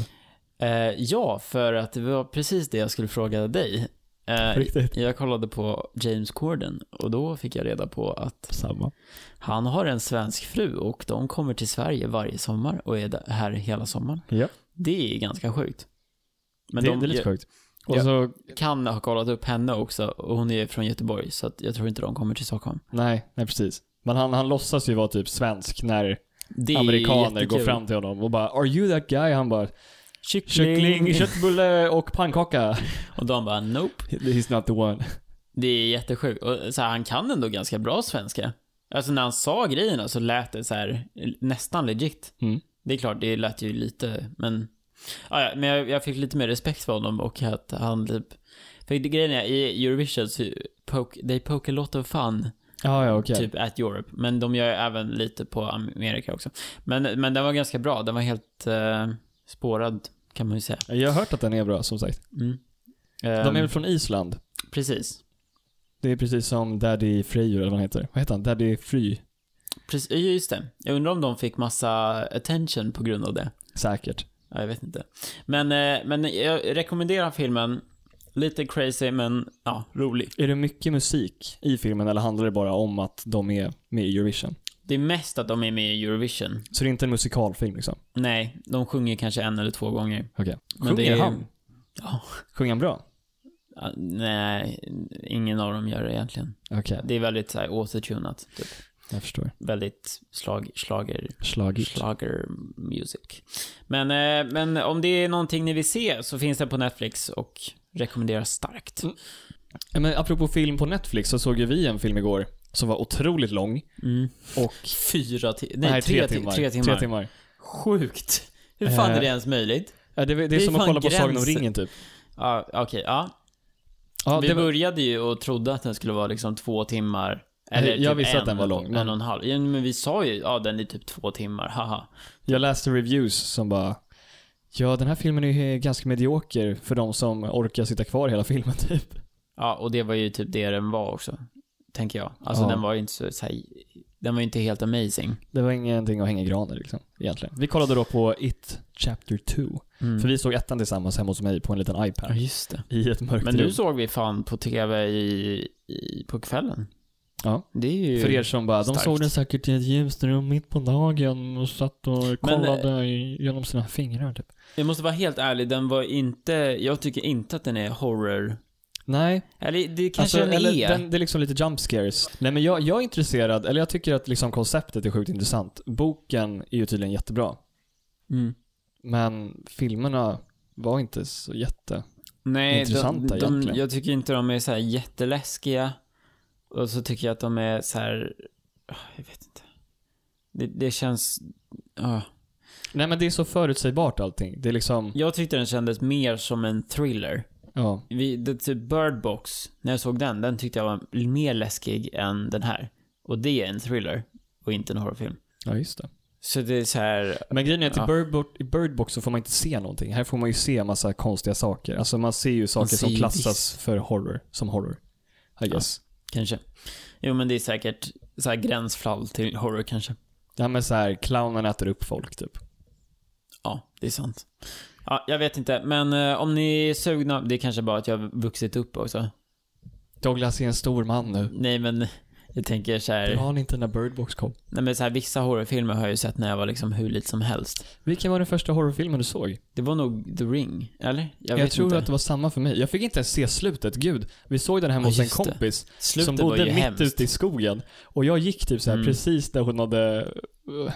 [SPEAKER 1] Eh, ja, för att det var precis det jag skulle fråga dig. Eh,
[SPEAKER 2] Riktigt.
[SPEAKER 1] jag kollade på James Corden och då fick jag reda på att
[SPEAKER 2] Samma.
[SPEAKER 1] han har en svensk fru och de kommer till Sverige varje sommar och är där- här hela sommaren.
[SPEAKER 2] Ja.
[SPEAKER 1] Det är ganska sjukt. Men
[SPEAKER 2] det,
[SPEAKER 1] de
[SPEAKER 2] det är lite sjukt. Och
[SPEAKER 1] Ja.
[SPEAKER 2] så,
[SPEAKER 1] kan ha kollat upp henne också och hon är från Göteborg så att jag tror inte de kommer till Stockholm.
[SPEAKER 2] nej, nej precis. Men han, han låtsas ju vara typ svensk när
[SPEAKER 1] Det är
[SPEAKER 2] amerikaner går
[SPEAKER 1] jättekul.
[SPEAKER 2] fram till honom och bara “Are you that guy?” Han bara
[SPEAKER 1] Kyckling.
[SPEAKER 2] “Kyckling, köttbulle och pannkaka”.
[SPEAKER 1] Och de bara nope.
[SPEAKER 2] He's not the one.
[SPEAKER 1] Det är jättesjukt. Och så här, han kan ändå ganska bra svenska. Alltså när han sa grejerna så lät det så här nästan legit.
[SPEAKER 2] Mm.
[SPEAKER 1] Det är klart, det lät ju lite, men... Ah, ja, men jag, jag fick lite mer respekt för honom och att han typ... För det- grejen är, i Eurovision så poke, they poke a lot of fun,
[SPEAKER 2] Ja, ja, okej.
[SPEAKER 1] typ at Europe. Men de gör ju även lite på Amerika också. Men, men den var ganska bra, den var helt eh, spårad kan man ju säga.
[SPEAKER 2] Jag har hört att den är bra, som sagt.
[SPEAKER 1] Mm. Ehm,
[SPEAKER 2] De är väl från Island?
[SPEAKER 1] Precis.
[SPEAKER 2] Det är precis som Daddy Freyr, eller vad han heter. Vad heter han? Daddy Fry?
[SPEAKER 1] Precis, ja, just det. Jag undrar om de fick massa attention på grund av det.
[SPEAKER 2] Säkert.
[SPEAKER 1] Ja, jag vet inte. Men, eh, men jag rekommenderar filmen. Lite crazy, men ja, rolig.
[SPEAKER 2] Är det mycket musik i filmen eller handlar det bara om att de är med i Eurovision?
[SPEAKER 1] Det är mest att de är med i Eurovision.
[SPEAKER 2] Så det är inte en musikalfilm liksom?
[SPEAKER 1] Nej, de sjunger kanske en eller två gånger.
[SPEAKER 2] Okej.
[SPEAKER 1] Men
[SPEAKER 2] Sjunger
[SPEAKER 1] det är-
[SPEAKER 2] han?
[SPEAKER 1] Ja.
[SPEAKER 2] Sjunger han bra?
[SPEAKER 1] Ja, nej, ingen av dem gör det egentligen.
[SPEAKER 2] Okej,
[SPEAKER 1] Det är väldigt så här, återtunat. Typ.
[SPEAKER 2] jag förstår.
[SPEAKER 1] Väldigt slag, slager,
[SPEAKER 2] Schlager.
[SPEAKER 1] slager music. Men, eh, men om det är någonting ni vill se så finns det på Netflix och rekommenderas starkt.
[SPEAKER 2] Mm. Ja, Men apropå film på Netflix så såg ju vi en film igår som var otroligt lång.
[SPEAKER 1] Mm.
[SPEAKER 2] Och...
[SPEAKER 1] Fyra ti- nej, tre, ti- Tre timmar.
[SPEAKER 2] Tre timmar.
[SPEAKER 1] Sjukt. Hur fan
[SPEAKER 2] Eh.
[SPEAKER 1] är det ens möjligt?
[SPEAKER 2] Ja, det, det är
[SPEAKER 1] Det är
[SPEAKER 2] som att
[SPEAKER 1] fan
[SPEAKER 2] kolla på Sagan om
[SPEAKER 1] gränsen.
[SPEAKER 2] ringen typ.
[SPEAKER 1] Ja, okej. ja.
[SPEAKER 2] Ja,
[SPEAKER 1] Vi
[SPEAKER 2] det var-
[SPEAKER 1] började ju och trodde att den skulle vara liksom två timmar. Eller
[SPEAKER 2] Eh, Jag- jag
[SPEAKER 1] typ
[SPEAKER 2] visste
[SPEAKER 1] en,
[SPEAKER 2] att den var lång,
[SPEAKER 1] En
[SPEAKER 2] men-
[SPEAKER 1] och en halv. Ja, men vi sa ju, ja den är typ två timmar, haha.
[SPEAKER 2] Jag läste reviews som bara Ja, den här filmen är ju ganska medioker för de som orkar sitta kvar hela filmen typ.
[SPEAKER 1] Ja, och det var ju typ det den var också. Tänker jag. Alltså
[SPEAKER 2] Ja.
[SPEAKER 1] den var ju inte så, så här, den var ju inte helt amazing.
[SPEAKER 2] Det var ingenting att hänga i granen liksom, egentligen. Vi kollade då på It Chapter 2.
[SPEAKER 1] Mm.
[SPEAKER 2] För vi såg ettan tillsammans hemma hos mig på en liten
[SPEAKER 1] Ja,
[SPEAKER 2] iPad.
[SPEAKER 1] just det.
[SPEAKER 2] I ett mörkt
[SPEAKER 1] Men
[SPEAKER 2] rum.
[SPEAKER 1] nu såg vi fan på TV i, i, på kvällen.
[SPEAKER 2] Ja.
[SPEAKER 1] Det är ju...
[SPEAKER 2] För er som bara, de
[SPEAKER 1] Starkt.
[SPEAKER 2] såg den säkert i ett ljust rum mitt på dagen och satt och kollade i- genom sina fingrar typ.
[SPEAKER 1] Jag måste vara helt ärlig, den var inte... Jag tycker inte att den är horror.
[SPEAKER 2] Nej,
[SPEAKER 1] Eller det kanske
[SPEAKER 2] alltså,
[SPEAKER 1] den
[SPEAKER 2] eller,
[SPEAKER 1] är.
[SPEAKER 2] den, det är liksom lite jump scares. Nej men jag, jag är intresserad, eller jag tycker att liksom konceptet är sjukt intressant. Boken är ju tydligen jättebra.
[SPEAKER 1] Mm.
[SPEAKER 2] Men filmerna var inte så jätte...
[SPEAKER 1] Nej,
[SPEAKER 2] Intressanta
[SPEAKER 1] de, de,
[SPEAKER 2] egentligen.
[SPEAKER 1] jag tycker inte de är så här jätteläskiga. Och så tycker jag att de är så här... ah, Jag vet inte. Det, det känns... ah.
[SPEAKER 2] Nej men det är så förutsägbart allting. Det är liksom,
[SPEAKER 1] Jag tyckte den kändes mer som en thriller.
[SPEAKER 2] ja.
[SPEAKER 1] Vi, det, typ Bird Box, när jag såg den, den tyckte jag var mer läskig än den här. Och det är en thriller och inte en horrorfilm.
[SPEAKER 2] Ja just det.
[SPEAKER 1] Så det är så här,
[SPEAKER 2] Men grejen är att
[SPEAKER 1] Ja.
[SPEAKER 2] i, Bird Box, i Bird Box så får man inte se någonting. Här får man ju se en massa konstiga saker. Alltså man ser ju saker
[SPEAKER 1] ser
[SPEAKER 2] som
[SPEAKER 1] ju
[SPEAKER 2] klassas
[SPEAKER 1] visst.
[SPEAKER 2] för horror, som horror. I guess.
[SPEAKER 1] kanske. Jo men det är säkert så här gränsfall till horror kanske.
[SPEAKER 2] Det här med så här, clownen äter upp folk typ.
[SPEAKER 1] Ja, det är sant. Ja, jag vet inte, men eh, om ni är sugna, det är kanske bara att jag har vuxit upp också.
[SPEAKER 2] Douglas är en stor man nu.
[SPEAKER 1] Nej men, jag tänker så här,
[SPEAKER 2] Det var han inte när Bird Box kom.
[SPEAKER 1] nej men så här vissa horrorfilmer har jag ju sett när jag var liksom hur liten som helst.
[SPEAKER 2] Vilken var den första horrorfilmen du såg?
[SPEAKER 1] Det var nog The Ring, eller?
[SPEAKER 2] Jag,
[SPEAKER 1] vet
[SPEAKER 2] tror
[SPEAKER 1] inte.
[SPEAKER 2] att det var samma för mig. Jag fick inte ens se slutet, gud. Vi såg den hemma
[SPEAKER 1] Ja,
[SPEAKER 2] hos en
[SPEAKER 1] just det.
[SPEAKER 2] kompis
[SPEAKER 1] Slutet
[SPEAKER 2] som
[SPEAKER 1] var ju
[SPEAKER 2] bodde mitt
[SPEAKER 1] hemskt.
[SPEAKER 2] ute i skogen. Och jag gick typ så här
[SPEAKER 1] Mm.
[SPEAKER 2] precis där hon hade eh,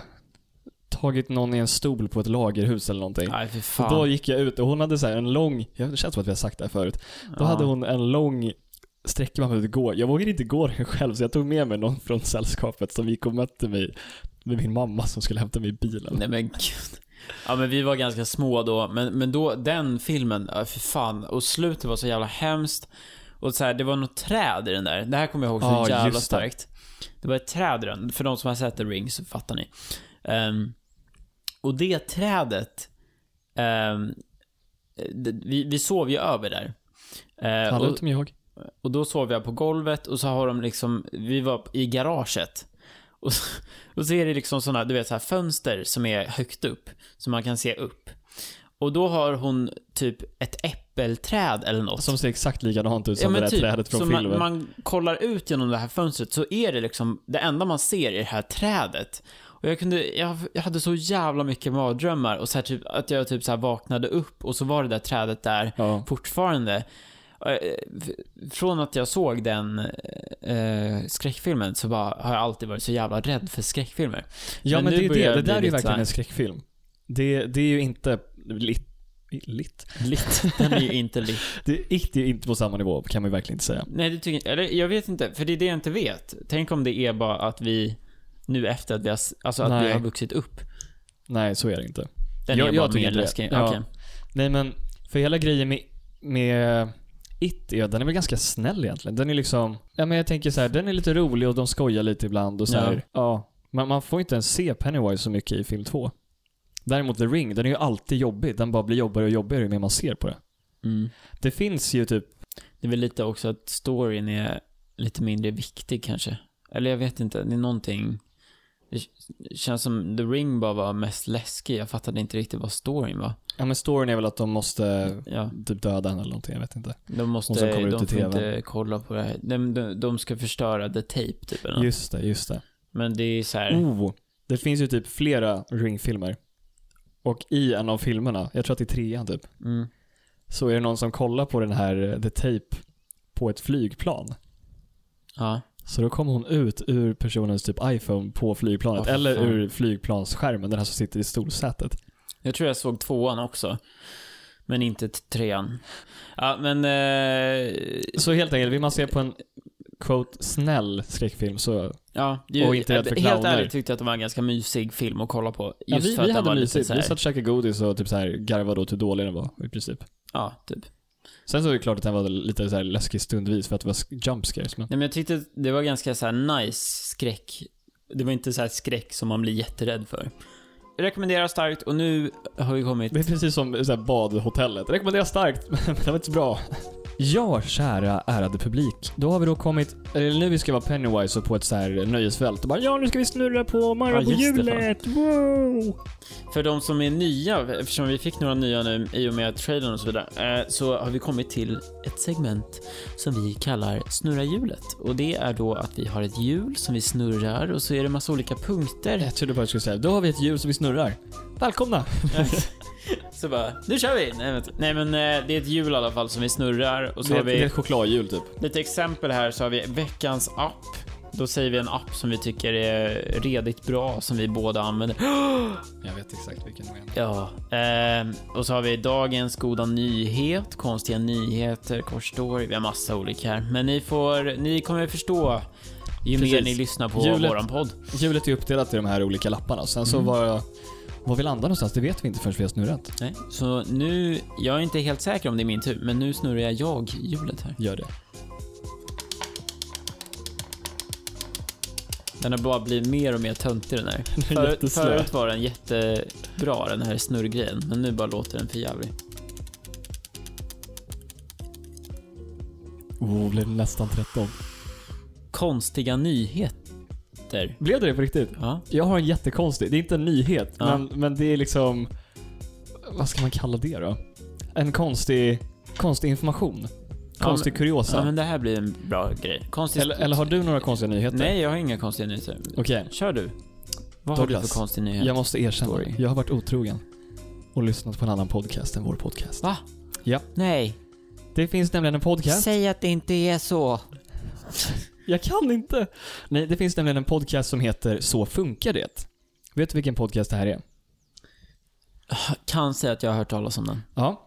[SPEAKER 2] tagit någon i en stol på ett lagerhus eller någonting.
[SPEAKER 1] Nej för fan.
[SPEAKER 2] Och då gick jag ut och hon hade så här en lång, jag- det känns som att vi har sagt det här förut. Då
[SPEAKER 1] Ja.
[SPEAKER 2] hade hon en lång sträcka man behövde gå. Jag vågade inte gå den själv så jag tog med mig någon från sällskapet som gick och mötte mig med min mamma som skulle hämta mig i bilen.
[SPEAKER 1] Nej men gud. Ja men vi var ganska små då, men, men då, den filmen, ja, för fan. Och slutet var så jävla hemskt. Och så här, det var något träd i den där. Det här kommer jag ihåg så
[SPEAKER 2] Ja, just
[SPEAKER 1] jävla
[SPEAKER 2] det.
[SPEAKER 1] starkt. Det var ett träd i den, för de som har sett The Ring så fattar ni. Ehm, och det trädet, ehm, det, vi, vi sov ju över där. Eh,
[SPEAKER 2] Alla
[SPEAKER 1] och-
[SPEAKER 2] utom jag.
[SPEAKER 1] och då sov jag på golvet och så har de liksom, vi var i garaget. Och så, och så är det liksom sådana, du vet så här fönster som är högt upp. Så man kan se upp. Och då har hon typ ett äppelträd eller något.
[SPEAKER 2] Som ser exakt likadant ut som det där trädet från
[SPEAKER 1] typ. så
[SPEAKER 2] filmen.
[SPEAKER 1] man, man kollar ut genom det här fönstret så är det liksom, det enda man ser är det här trädet. Och jag kunde, jag, jag hade så jävla mycket mardrömmar och så här typ, att jag typ så här vaknade upp och så var det där trädet där
[SPEAKER 2] Ja.
[SPEAKER 1] fortfarande. Eh, f- Från att jag såg den eh, skräckfilmen så bara, har jag alltid varit så jävla rädd för skräckfilmer.
[SPEAKER 2] Ja
[SPEAKER 1] Men
[SPEAKER 2] men,
[SPEAKER 1] nu
[SPEAKER 2] det är
[SPEAKER 1] börjar
[SPEAKER 2] det.
[SPEAKER 1] jag
[SPEAKER 2] Det
[SPEAKER 1] bli
[SPEAKER 2] där är ju
[SPEAKER 1] lite
[SPEAKER 2] verkligen
[SPEAKER 1] såhär-
[SPEAKER 2] en skräckfilm. Det, det är ju inte lit, lit.
[SPEAKER 1] Litt. Den är ju inte litt.
[SPEAKER 2] Det är inte, det är inte på samma nivå kan man ju verkligen inte säga.
[SPEAKER 1] Nej, det tycker jag Eller jag vet inte, för det är det jag inte vet. Tänk om det är bara att vi nu efter att vi har, s- alltså att vi
[SPEAKER 2] Nej.
[SPEAKER 1] har vuxit upp.
[SPEAKER 2] Nej, så är det inte.
[SPEAKER 1] Den
[SPEAKER 2] Jag-
[SPEAKER 1] är
[SPEAKER 2] jag
[SPEAKER 1] bara
[SPEAKER 2] tycker
[SPEAKER 1] mer
[SPEAKER 2] inte det.
[SPEAKER 1] läskig.
[SPEAKER 2] Ja.
[SPEAKER 1] Okej.
[SPEAKER 2] Nej men, för hela grejen med, med It är, den är väl ganska snäll egentligen. Den är liksom, ja men jag tänker så här, den är lite rolig och de skojar lite ibland och så
[SPEAKER 1] Ja.
[SPEAKER 2] här, ja. Man, man får inte ens se Pennywise så mycket i film 2. Däremot The Ring, den är ju alltid jobbig. Den bara blir jobbigare och jobbigare ju mer man ser på det.
[SPEAKER 1] Mm.
[SPEAKER 2] Det finns ju typ,
[SPEAKER 1] Det är väl lite också att storyn är lite mindre viktig kanske. Eller jag vet inte, det är någonting... Det k- känns som The Ring bara var mest läskig. Jag fattade inte riktigt vad storyn var.
[SPEAKER 2] ja men storyn är väl att de måste
[SPEAKER 1] Ja,
[SPEAKER 2] typ döda henne eller någonting, jag vet inte.
[SPEAKER 1] de måste...
[SPEAKER 2] Och sen kommer det ut
[SPEAKER 1] De
[SPEAKER 2] i
[SPEAKER 1] får
[SPEAKER 2] TV.
[SPEAKER 1] inte kolla på det här. De, de, de ska förstöra the tape typ eller något.
[SPEAKER 2] Just det, just det.
[SPEAKER 1] Men det är så här...
[SPEAKER 2] Oh, det finns ju typ flera Ring-filmer. Och i en av filmerna, jag tror att det är trean typ,
[SPEAKER 1] Mm.
[SPEAKER 2] så är det någon som kollar på den här eh, The Tape på ett flygplan.
[SPEAKER 1] Ja.
[SPEAKER 2] Så då kommer hon ut ur personens typ iPhone på flygplanet,
[SPEAKER 1] Åh, för
[SPEAKER 2] eller
[SPEAKER 1] fan.
[SPEAKER 2] ur flygplansskärmen, den här som sitter i stolsätet.
[SPEAKER 1] Jag tror jag såg tvåan också. Men inte t- trean. Ja, men... Eh,
[SPEAKER 2] Så helt enkelt, vill man se på en quote snäll skräckfilm så...
[SPEAKER 1] ja, ju,
[SPEAKER 2] Och inte rädd för
[SPEAKER 1] Helt
[SPEAKER 2] clowner.
[SPEAKER 1] ärligt tyckte jag att det var en ganska mysig film att kolla på.
[SPEAKER 2] Ja,
[SPEAKER 1] Just
[SPEAKER 2] vi
[SPEAKER 1] för att
[SPEAKER 2] vi
[SPEAKER 1] den
[SPEAKER 2] hade
[SPEAKER 1] var lite
[SPEAKER 2] mysigt.
[SPEAKER 1] så
[SPEAKER 2] Vi
[SPEAKER 1] här,
[SPEAKER 2] satt och käkade godis och typ så här garvade åt hur dålig den var i princip.
[SPEAKER 1] Ja, typ.
[SPEAKER 2] Sen så är det klart att den var lite så här läskig stundvis för att det var sk- jump scares. Men...
[SPEAKER 1] Nej, men jag tyckte det var ganska så här nice skräck. Det var inte så här skräck som man blir jätterädd för. Jag rekommenderar starkt och nu har vi kommit...
[SPEAKER 2] Det är precis som så här, badhotellet. Rekommenderar starkt, men det var inte så bra. Ja, kära ärade publik. Då har vi då kommit, eller nu vi ska vara Pennywise och på ett så här nöjesfält och bara ja, nu ska vi snurra på
[SPEAKER 1] Ja,
[SPEAKER 2] Marabou på
[SPEAKER 1] just det,
[SPEAKER 2] hjulet. Wow!
[SPEAKER 1] För de som är nya, eftersom vi fick några nya nu i och med trailern och så vidare, eh, så har vi kommit till ett segment som vi kallar Snurra hjulet. Och det är då att vi har ett hjul som vi snurrar och så är det massa olika punkter.
[SPEAKER 2] Jag trodde bara jag skulle säga, då har vi ett hjul som vi snurrar. Välkomna!
[SPEAKER 1] Så bara, nu kör vi! Nej, vänta. Nej men eh, det är ett hjul i alla fall som vi snurrar och så
[SPEAKER 2] Det
[SPEAKER 1] har
[SPEAKER 2] är, ett- det är
[SPEAKER 1] vi
[SPEAKER 2] ett chokladhjul typ.
[SPEAKER 1] lite exempel här så har vi veckans app. Då säger vi en app som vi tycker är redigt bra som vi båda använder.
[SPEAKER 2] Jag vet exakt vilken det är.
[SPEAKER 1] Ja, ehm, och så har vi dagens goda nyhet, konstiga nyheter, korsstory. Vi har massa olika här. Men ni får, ni kommer förstå ju mer
[SPEAKER 2] Precis.
[SPEAKER 1] ni lyssnar på
[SPEAKER 2] Hjulet-
[SPEAKER 1] våran podd.
[SPEAKER 2] Hjulet är uppdelat i de här olika lapparna. Sen så var, var vi landar någonstans, det vet vi inte förrän vi har snurrat.
[SPEAKER 1] Nej. Så nu, jag är inte helt säker om det är min tur, men nu snurrar jag jag hjulet här.
[SPEAKER 2] Gör det.
[SPEAKER 1] Den har bara blivit mer och mer töntig den här.
[SPEAKER 2] Den är
[SPEAKER 1] Förut,
[SPEAKER 2] jätteslö.
[SPEAKER 1] förut var den jättebra den här snurrgrejen, men nu bara låter den för jävlig.
[SPEAKER 2] Oh, blev nästan 13.
[SPEAKER 1] Konstiga nyheter.
[SPEAKER 2] Blev det det på riktigt?
[SPEAKER 1] Ja.
[SPEAKER 2] Jag har en jättekonstig, det är inte en nyhet,
[SPEAKER 1] Ja.
[SPEAKER 2] men, men det är liksom... Vad ska man kalla det då? En konstig, konstig information. Konstig kuriosa.
[SPEAKER 1] Ja, men det här blir en bra grej. Konstigt.
[SPEAKER 2] eller, eller har du några konstiga nyheter?
[SPEAKER 1] Nej, jag har inga konstiga nyheter.
[SPEAKER 2] Okej,
[SPEAKER 1] Kör du. Vad har du
[SPEAKER 2] Douglas,
[SPEAKER 1] för konstig nyhet?
[SPEAKER 2] jag måste erkänna.
[SPEAKER 1] Story.
[SPEAKER 2] Jag har varit otrogen. Och lyssnat på en annan podcast än vår podcast.
[SPEAKER 1] Va?
[SPEAKER 2] Ja.
[SPEAKER 1] Nej.
[SPEAKER 2] Det finns nämligen en podcast.
[SPEAKER 1] Säg att det inte är så.
[SPEAKER 2] Jag kan inte. Nej, det finns nämligen en podcast som heter Så funkar det. Vet du vilken podcast det här är?
[SPEAKER 1] Kan säga att jag har hört talas om den.
[SPEAKER 2] Ja.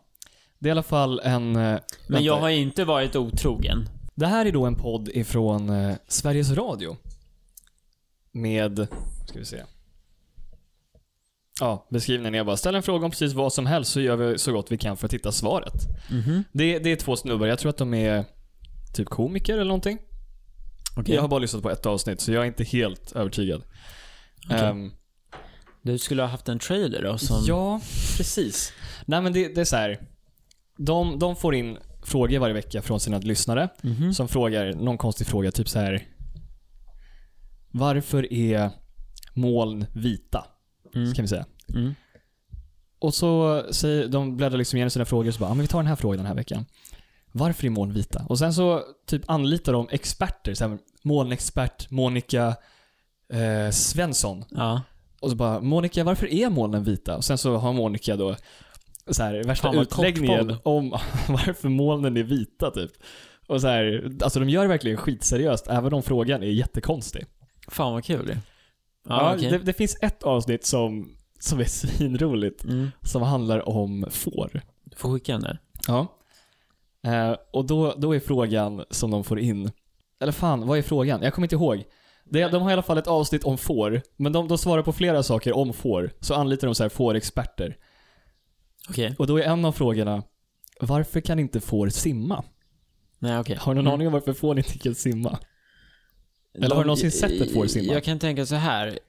[SPEAKER 2] Det är i alla fall en... eh, Men
[SPEAKER 1] Men jag har inte varit otrogen.
[SPEAKER 2] Det här är då en podd ifrån eh, Sveriges Radio. Med, ska vi se. Ja, beskrivningen är bara ställ en fråga om precis vad som helst så gör vi så gott vi kan för att hitta svaret.
[SPEAKER 1] Mhm.
[SPEAKER 2] Det, det är två snubbar, jag tror att de är typ komiker eller någonting.
[SPEAKER 1] Okej.
[SPEAKER 2] Jag har bara lyssnat på ett avsnitt så jag är inte helt övertygad.
[SPEAKER 1] Okej.
[SPEAKER 2] Ehm,
[SPEAKER 1] Du skulle ha haft en trailer då som...
[SPEAKER 2] Ja, precis. Nej men det, det är så här. De, de får in frågor varje vecka från sina lyssnare
[SPEAKER 1] Mhm.
[SPEAKER 2] som frågar någon konstig fråga, typ så här. Varför är moln vita?
[SPEAKER 1] Mm.
[SPEAKER 2] Kan vi säga.
[SPEAKER 1] Mm.
[SPEAKER 2] Och så säger, de bläddrar liksom igenom sina frågor och så bara, "Ja, men vi tar den här frågan den här veckan. Varför är moln vita? Och sen så typ anlitar de experter, så här, molnexpert Monica eh, Svensson.
[SPEAKER 1] Ja.
[SPEAKER 2] Och så bara, Monica varför är molnen vita? Och sen så har Monica då så här, värsta
[SPEAKER 1] Fan, vad kort
[SPEAKER 2] utläggningen
[SPEAKER 1] podd.
[SPEAKER 2] om varför molnen är vita typ. Och så här, alltså de gör det verkligen skitseriöst även om frågan är jättekonstig.
[SPEAKER 1] Fan vad kul det. Ja,
[SPEAKER 2] Ja,
[SPEAKER 1] okej.
[SPEAKER 2] det, det finns ett avsnitt som, som är svinroligt
[SPEAKER 1] Mm.
[SPEAKER 2] som handlar om får.
[SPEAKER 1] Du får skicka den där.
[SPEAKER 2] Ja. Eh, och då, då är frågan som de får in, eller fan vad är frågan? Jag kommer inte ihåg. Det, de har i alla fall ett avsnitt om får, men de, de svarar på flera saker om får. Så anlitar de så här fårexperter.
[SPEAKER 1] Okej.
[SPEAKER 2] Och då är en av frågorna, varför kan inte får simma?
[SPEAKER 1] Nej, okej.
[SPEAKER 2] Har du någon
[SPEAKER 1] Mm.
[SPEAKER 2] aning om varför får inte kan simma? Eller har du någonsin sett ett får simma?
[SPEAKER 1] Jag kan tänka så här.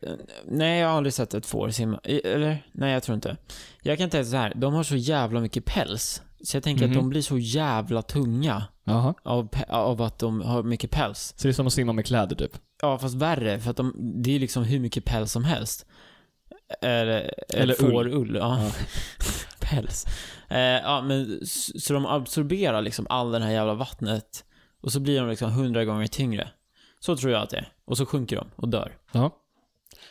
[SPEAKER 1] Nej, jag har aldrig sett ett får simma. I- Eller? Nej, jag tror inte. Jag kan tänka så här. De har så jävla mycket päls. Så jag tänker
[SPEAKER 2] Mhm.
[SPEAKER 1] att de blir så jävla tunga
[SPEAKER 2] Jaha.
[SPEAKER 1] av, pe- av att de har mycket päls.
[SPEAKER 2] Så det är som att simma med kläder typ?
[SPEAKER 1] Ja, fast värre. För att de, det är liksom hur mycket päls som helst. Eller,
[SPEAKER 2] Eller
[SPEAKER 1] får
[SPEAKER 2] ull.
[SPEAKER 1] ull. ja.
[SPEAKER 2] Ja.
[SPEAKER 1] päls. Eh, ja, men s- så de absorberar liksom all den här jävla vattnet. Och så blir de liksom hundra gånger tyngre. Så tror jag att det är. Och så sjunker de och dör.
[SPEAKER 2] Ja.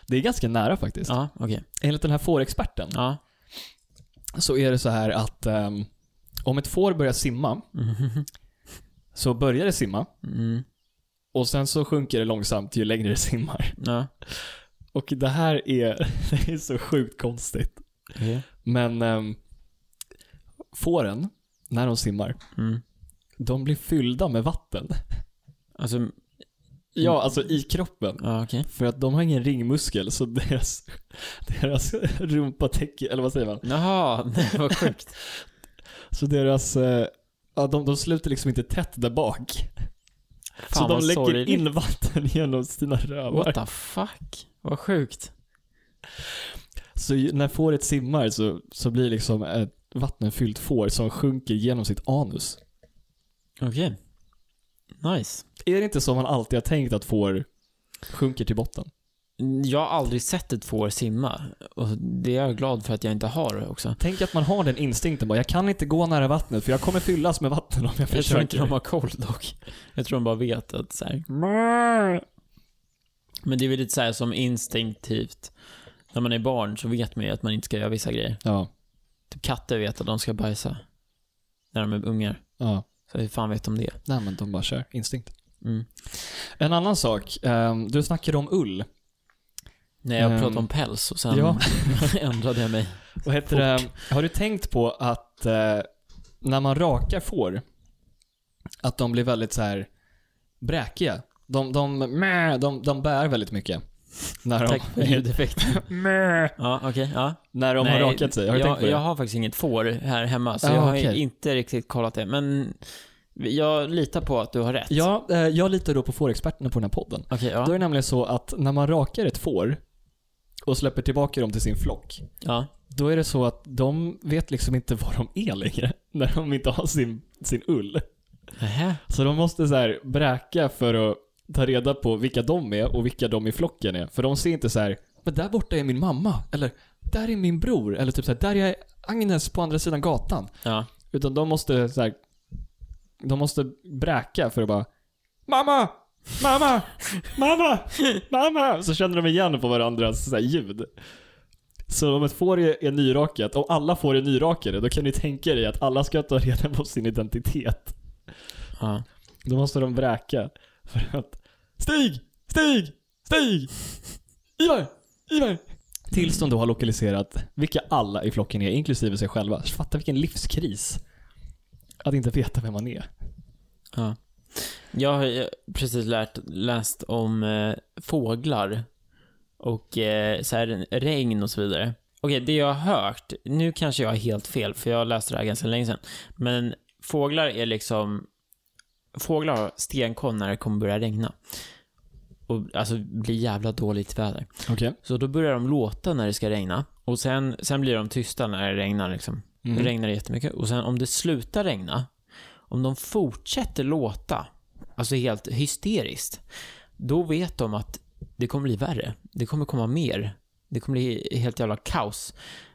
[SPEAKER 2] Det är ganska nära faktiskt.
[SPEAKER 1] Ja, okej.
[SPEAKER 2] Enligt den här fårexperten
[SPEAKER 1] Ja.
[SPEAKER 2] så är det så här att ehm, om ett får börjar simma
[SPEAKER 1] Mhm.
[SPEAKER 2] så börjar det simma
[SPEAKER 1] Mm.
[SPEAKER 2] och sen så sjunker det långsamt ju längre det simmar.
[SPEAKER 1] Ja.
[SPEAKER 2] Och det här är, det är så sjukt konstigt.
[SPEAKER 1] Okej.
[SPEAKER 2] Men um, fåren, när de simmar,
[SPEAKER 1] Mm.
[SPEAKER 2] de blir fyllda med vatten.
[SPEAKER 1] Alltså,
[SPEAKER 2] Ja, alltså i kroppen.
[SPEAKER 1] ja okej.
[SPEAKER 2] För att de har ingen ringmuskel så deras, deras rumpa täcker, eller vad säger man?
[SPEAKER 1] Jaha, nej vad sjukt.
[SPEAKER 2] Så deras, eh, ja, de, de sluter liksom inte tätt där bak.
[SPEAKER 1] Fan,
[SPEAKER 2] så
[SPEAKER 1] vad
[SPEAKER 2] de läcker
[SPEAKER 1] sorgligt.
[SPEAKER 2] in vatten genom sina
[SPEAKER 1] What
[SPEAKER 2] rövar.
[SPEAKER 1] the fuck? Vad sjukt.
[SPEAKER 2] Så ju- när fåret simmar så, så blir det liksom ett vattenfyllt får som sjunker genom sitt anus.
[SPEAKER 1] Okej. Nice.
[SPEAKER 2] Är det inte så man alltid har tänkt att får sjunker till botten?
[SPEAKER 1] Jag har aldrig sett ett får simma. Och det är jag glad för att jag inte har också.
[SPEAKER 2] Tänk att man har den instinkten bara, jag kan inte gå nära vattnet för jag kommer fyllas med vatten om jag
[SPEAKER 1] Jag tror
[SPEAKER 2] försöker.
[SPEAKER 1] inte de har koll dock. Jag tror de bara vet att så här. Men det är väl lite så här som instinktivt. När man är barn så vet man ju att man inte ska göra vissa grejer.
[SPEAKER 2] Ja,
[SPEAKER 1] Typ katter vet att de ska bajsa. När de är ungar.
[SPEAKER 2] ja.
[SPEAKER 1] Så hur fan vet de det?
[SPEAKER 2] Nej men de bara kör, instinkt.
[SPEAKER 1] Mm.
[SPEAKER 2] En annan sak, ehm, du snackade om ull.
[SPEAKER 1] Nej, jag
[SPEAKER 2] Ehm,
[SPEAKER 1] pratade om päls och sen
[SPEAKER 2] ja.
[SPEAKER 1] ändrade jag mig.
[SPEAKER 2] Vad heter det? Har du tänkt på att eh, när man rakar får, att de blir väldigt så här bräkiga? De, de, meh, de, de bär väldigt mycket. När de,
[SPEAKER 1] Tack för ljudeffekten.
[SPEAKER 2] Meh,
[SPEAKER 1] ja, okej. ja.
[SPEAKER 2] när de
[SPEAKER 1] Nej,
[SPEAKER 2] har rakat sig. Har du
[SPEAKER 1] jag,
[SPEAKER 2] tänkt på det?
[SPEAKER 1] jag har faktiskt inget får här hemma, så
[SPEAKER 2] Ah,
[SPEAKER 1] jag har
[SPEAKER 2] okej.
[SPEAKER 1] inte riktigt kollat det. Men Jag litar på att du har rätt.
[SPEAKER 2] Ja, eh, jag litar då på fårexperterna på den här podden.
[SPEAKER 1] Okej,
[SPEAKER 2] Då är
[SPEAKER 1] ja.
[SPEAKER 2] det nämligen så att när man rakar ett får och släpper tillbaka dem till sin flock,
[SPEAKER 1] ja.
[SPEAKER 2] då är det så att de vet liksom inte var de är längre när de inte har sin, sin ull.
[SPEAKER 1] Nähä.
[SPEAKER 2] Så de måste så här bräka för att ta reda på vilka de är och vilka de i flocken är. För de ser inte så här, men där borta är min mamma, eller där är min bror, eller typ så här, där är Agnes på andra sidan gatan.
[SPEAKER 1] Ja.
[SPEAKER 2] Utan de måste så här, de måste bräka för att bara Mamma! Mamma! Mamma! Mamma! Så känner de igen på varandras så här ljud. Så om ett får är är nyrakat, om alla får är nyrakade, då kan ni tänka er att alla ska ta reda på sin identitet.
[SPEAKER 1] ja.
[SPEAKER 2] Då måste de bräka för att Stig! Stig! Stig! Ivar! Ivar! Tills de då har lokaliserat vilka alla i flocken är, inklusive sig själva. Fatta vilken livskris. Att inte veta vem man är.
[SPEAKER 1] ja. Jag har ju precis lärt, läst om eh, fåglar och eh, så här, regn och så vidare. Okej, det jag har hört, nu kanske jag har helt fel för jag läste det här ganska länge sedan, men fåglar är liksom, fåglar har stenkoll när det kommer börja regna. Och alltså blir jävla dåligt väder.
[SPEAKER 2] Okej.
[SPEAKER 1] Så då börjar de låta när det ska regna. Och sen, sen blir de tysta när det regnar liksom. Det regnar jättemycket. Och sen om det slutar regna, om de fortsätter låta, alltså helt hysteriskt, då vet de att det kommer bli värre. Det kommer komma mer. Det kommer bli helt jävla kaos.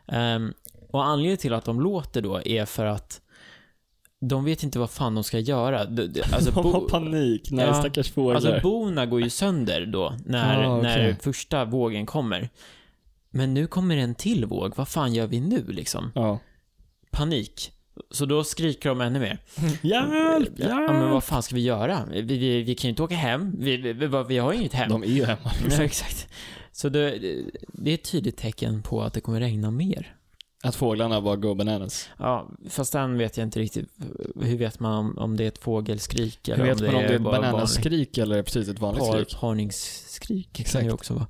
[SPEAKER 1] Ehm, och anledningen till att de låter då är för att de vet inte vad fan de ska göra. De- de- Alltså,
[SPEAKER 2] De
[SPEAKER 1] bo-
[SPEAKER 2] har panik. när
[SPEAKER 1] Ja.
[SPEAKER 2] stackars fåglar.
[SPEAKER 1] Alltså bona går ju sönder då när,
[SPEAKER 2] Ah, okej.
[SPEAKER 1] när första vågen kommer. Men nu kommer en till våg, vad fan gör vi nu liksom?
[SPEAKER 2] ja.
[SPEAKER 1] Panik. Så då skriker de ännu mer.
[SPEAKER 2] Hjälp!
[SPEAKER 1] Ja, men vad fan ska vi göra? Vi, vi, vi kan ju inte åka hem, vi, vi, vi, vi har ju inget hem.
[SPEAKER 2] De är ju hemma.
[SPEAKER 1] Ja, exakt. Så det, det är ett tydligt tecken på att det kommer regna mer.
[SPEAKER 2] Att fåglarna bara go bananas.
[SPEAKER 1] Ja, fast sen vet jag inte riktigt, hur vet man om, om det är ett fågelskrik
[SPEAKER 2] Hur
[SPEAKER 1] eller
[SPEAKER 2] vet man om det är ett
[SPEAKER 1] bara vanligt?
[SPEAKER 2] bananaskrik eller precis ett vanligt
[SPEAKER 1] Par,
[SPEAKER 2] skrik?
[SPEAKER 1] parningsskrik
[SPEAKER 2] Exakt.
[SPEAKER 1] kan det ju också vara.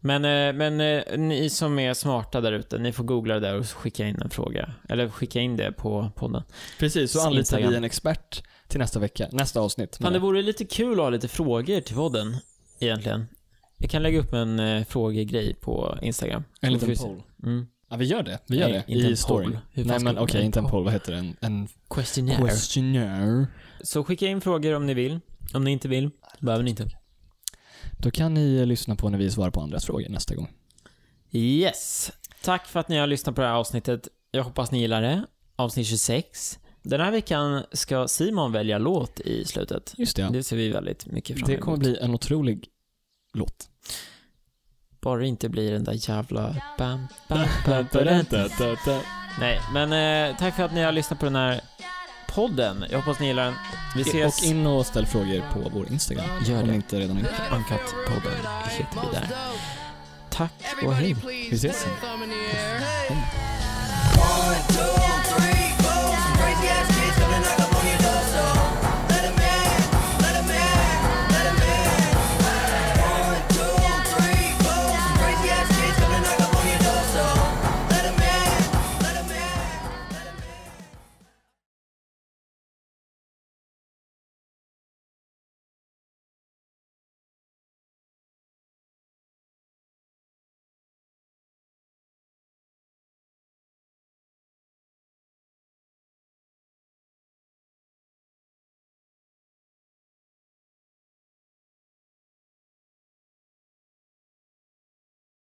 [SPEAKER 1] Men, eh, men eh, ni som är smarta där ute, ni får googla det där och skicka in en fråga. Eller skicka in det på podden.
[SPEAKER 2] Precis, så anlitar
[SPEAKER 1] Instagram.
[SPEAKER 2] vi en expert till nästa vecka. Nästa avsnitt.
[SPEAKER 1] Fan, det vore lite kul att ha lite frågor till podden, egentligen. Jag kan lägga upp en eh, frågegrej på Instagram.
[SPEAKER 2] en
[SPEAKER 1] Då får vi
[SPEAKER 2] liten
[SPEAKER 1] se.
[SPEAKER 2] poll.
[SPEAKER 1] Mm.
[SPEAKER 2] Ja, vi gör det. Vi gör
[SPEAKER 1] Nej,
[SPEAKER 2] det.
[SPEAKER 1] inte en
[SPEAKER 2] I storyn.
[SPEAKER 1] poll. Hur fan
[SPEAKER 2] Nej
[SPEAKER 1] ska
[SPEAKER 2] men
[SPEAKER 1] vi-
[SPEAKER 2] okej, inte en poll. Vad heter det? En, en
[SPEAKER 1] Questionnaire.
[SPEAKER 2] questionnaire.
[SPEAKER 1] Så skicka in frågor om ni vill. Om ni inte vill, behöver ni inte.
[SPEAKER 2] Då kan ni eh, lyssna på när vi svarar på andras frågor nästa gång.
[SPEAKER 1] Yes. Tack för att ni har lyssnat på det här avsnittet. Jag hoppas ni gillar det. Avsnitt 26. Den här veckan ska Simon välja låt i slutet.
[SPEAKER 2] Just det, ja.
[SPEAKER 1] Det ser vi väldigt mycket fram
[SPEAKER 2] Det
[SPEAKER 1] emot.
[SPEAKER 2] kommer bli en otrolig låt.
[SPEAKER 1] Bara det inte blir den där jävla... Bam, bam, bam, bam, Nej, men eh, tack för att ni har lyssnat på den här podden. Jag hoppas ni gillar den. Vi ses.
[SPEAKER 2] Och in och ställ frågor på vår Instagram.
[SPEAKER 1] Gör
[SPEAKER 2] Om
[SPEAKER 1] det.
[SPEAKER 2] ni inte redan har gjort
[SPEAKER 1] Uncut-podden heter vi där. Tack och hej.
[SPEAKER 2] det. Vi ses.
[SPEAKER 8] Thumb in the air.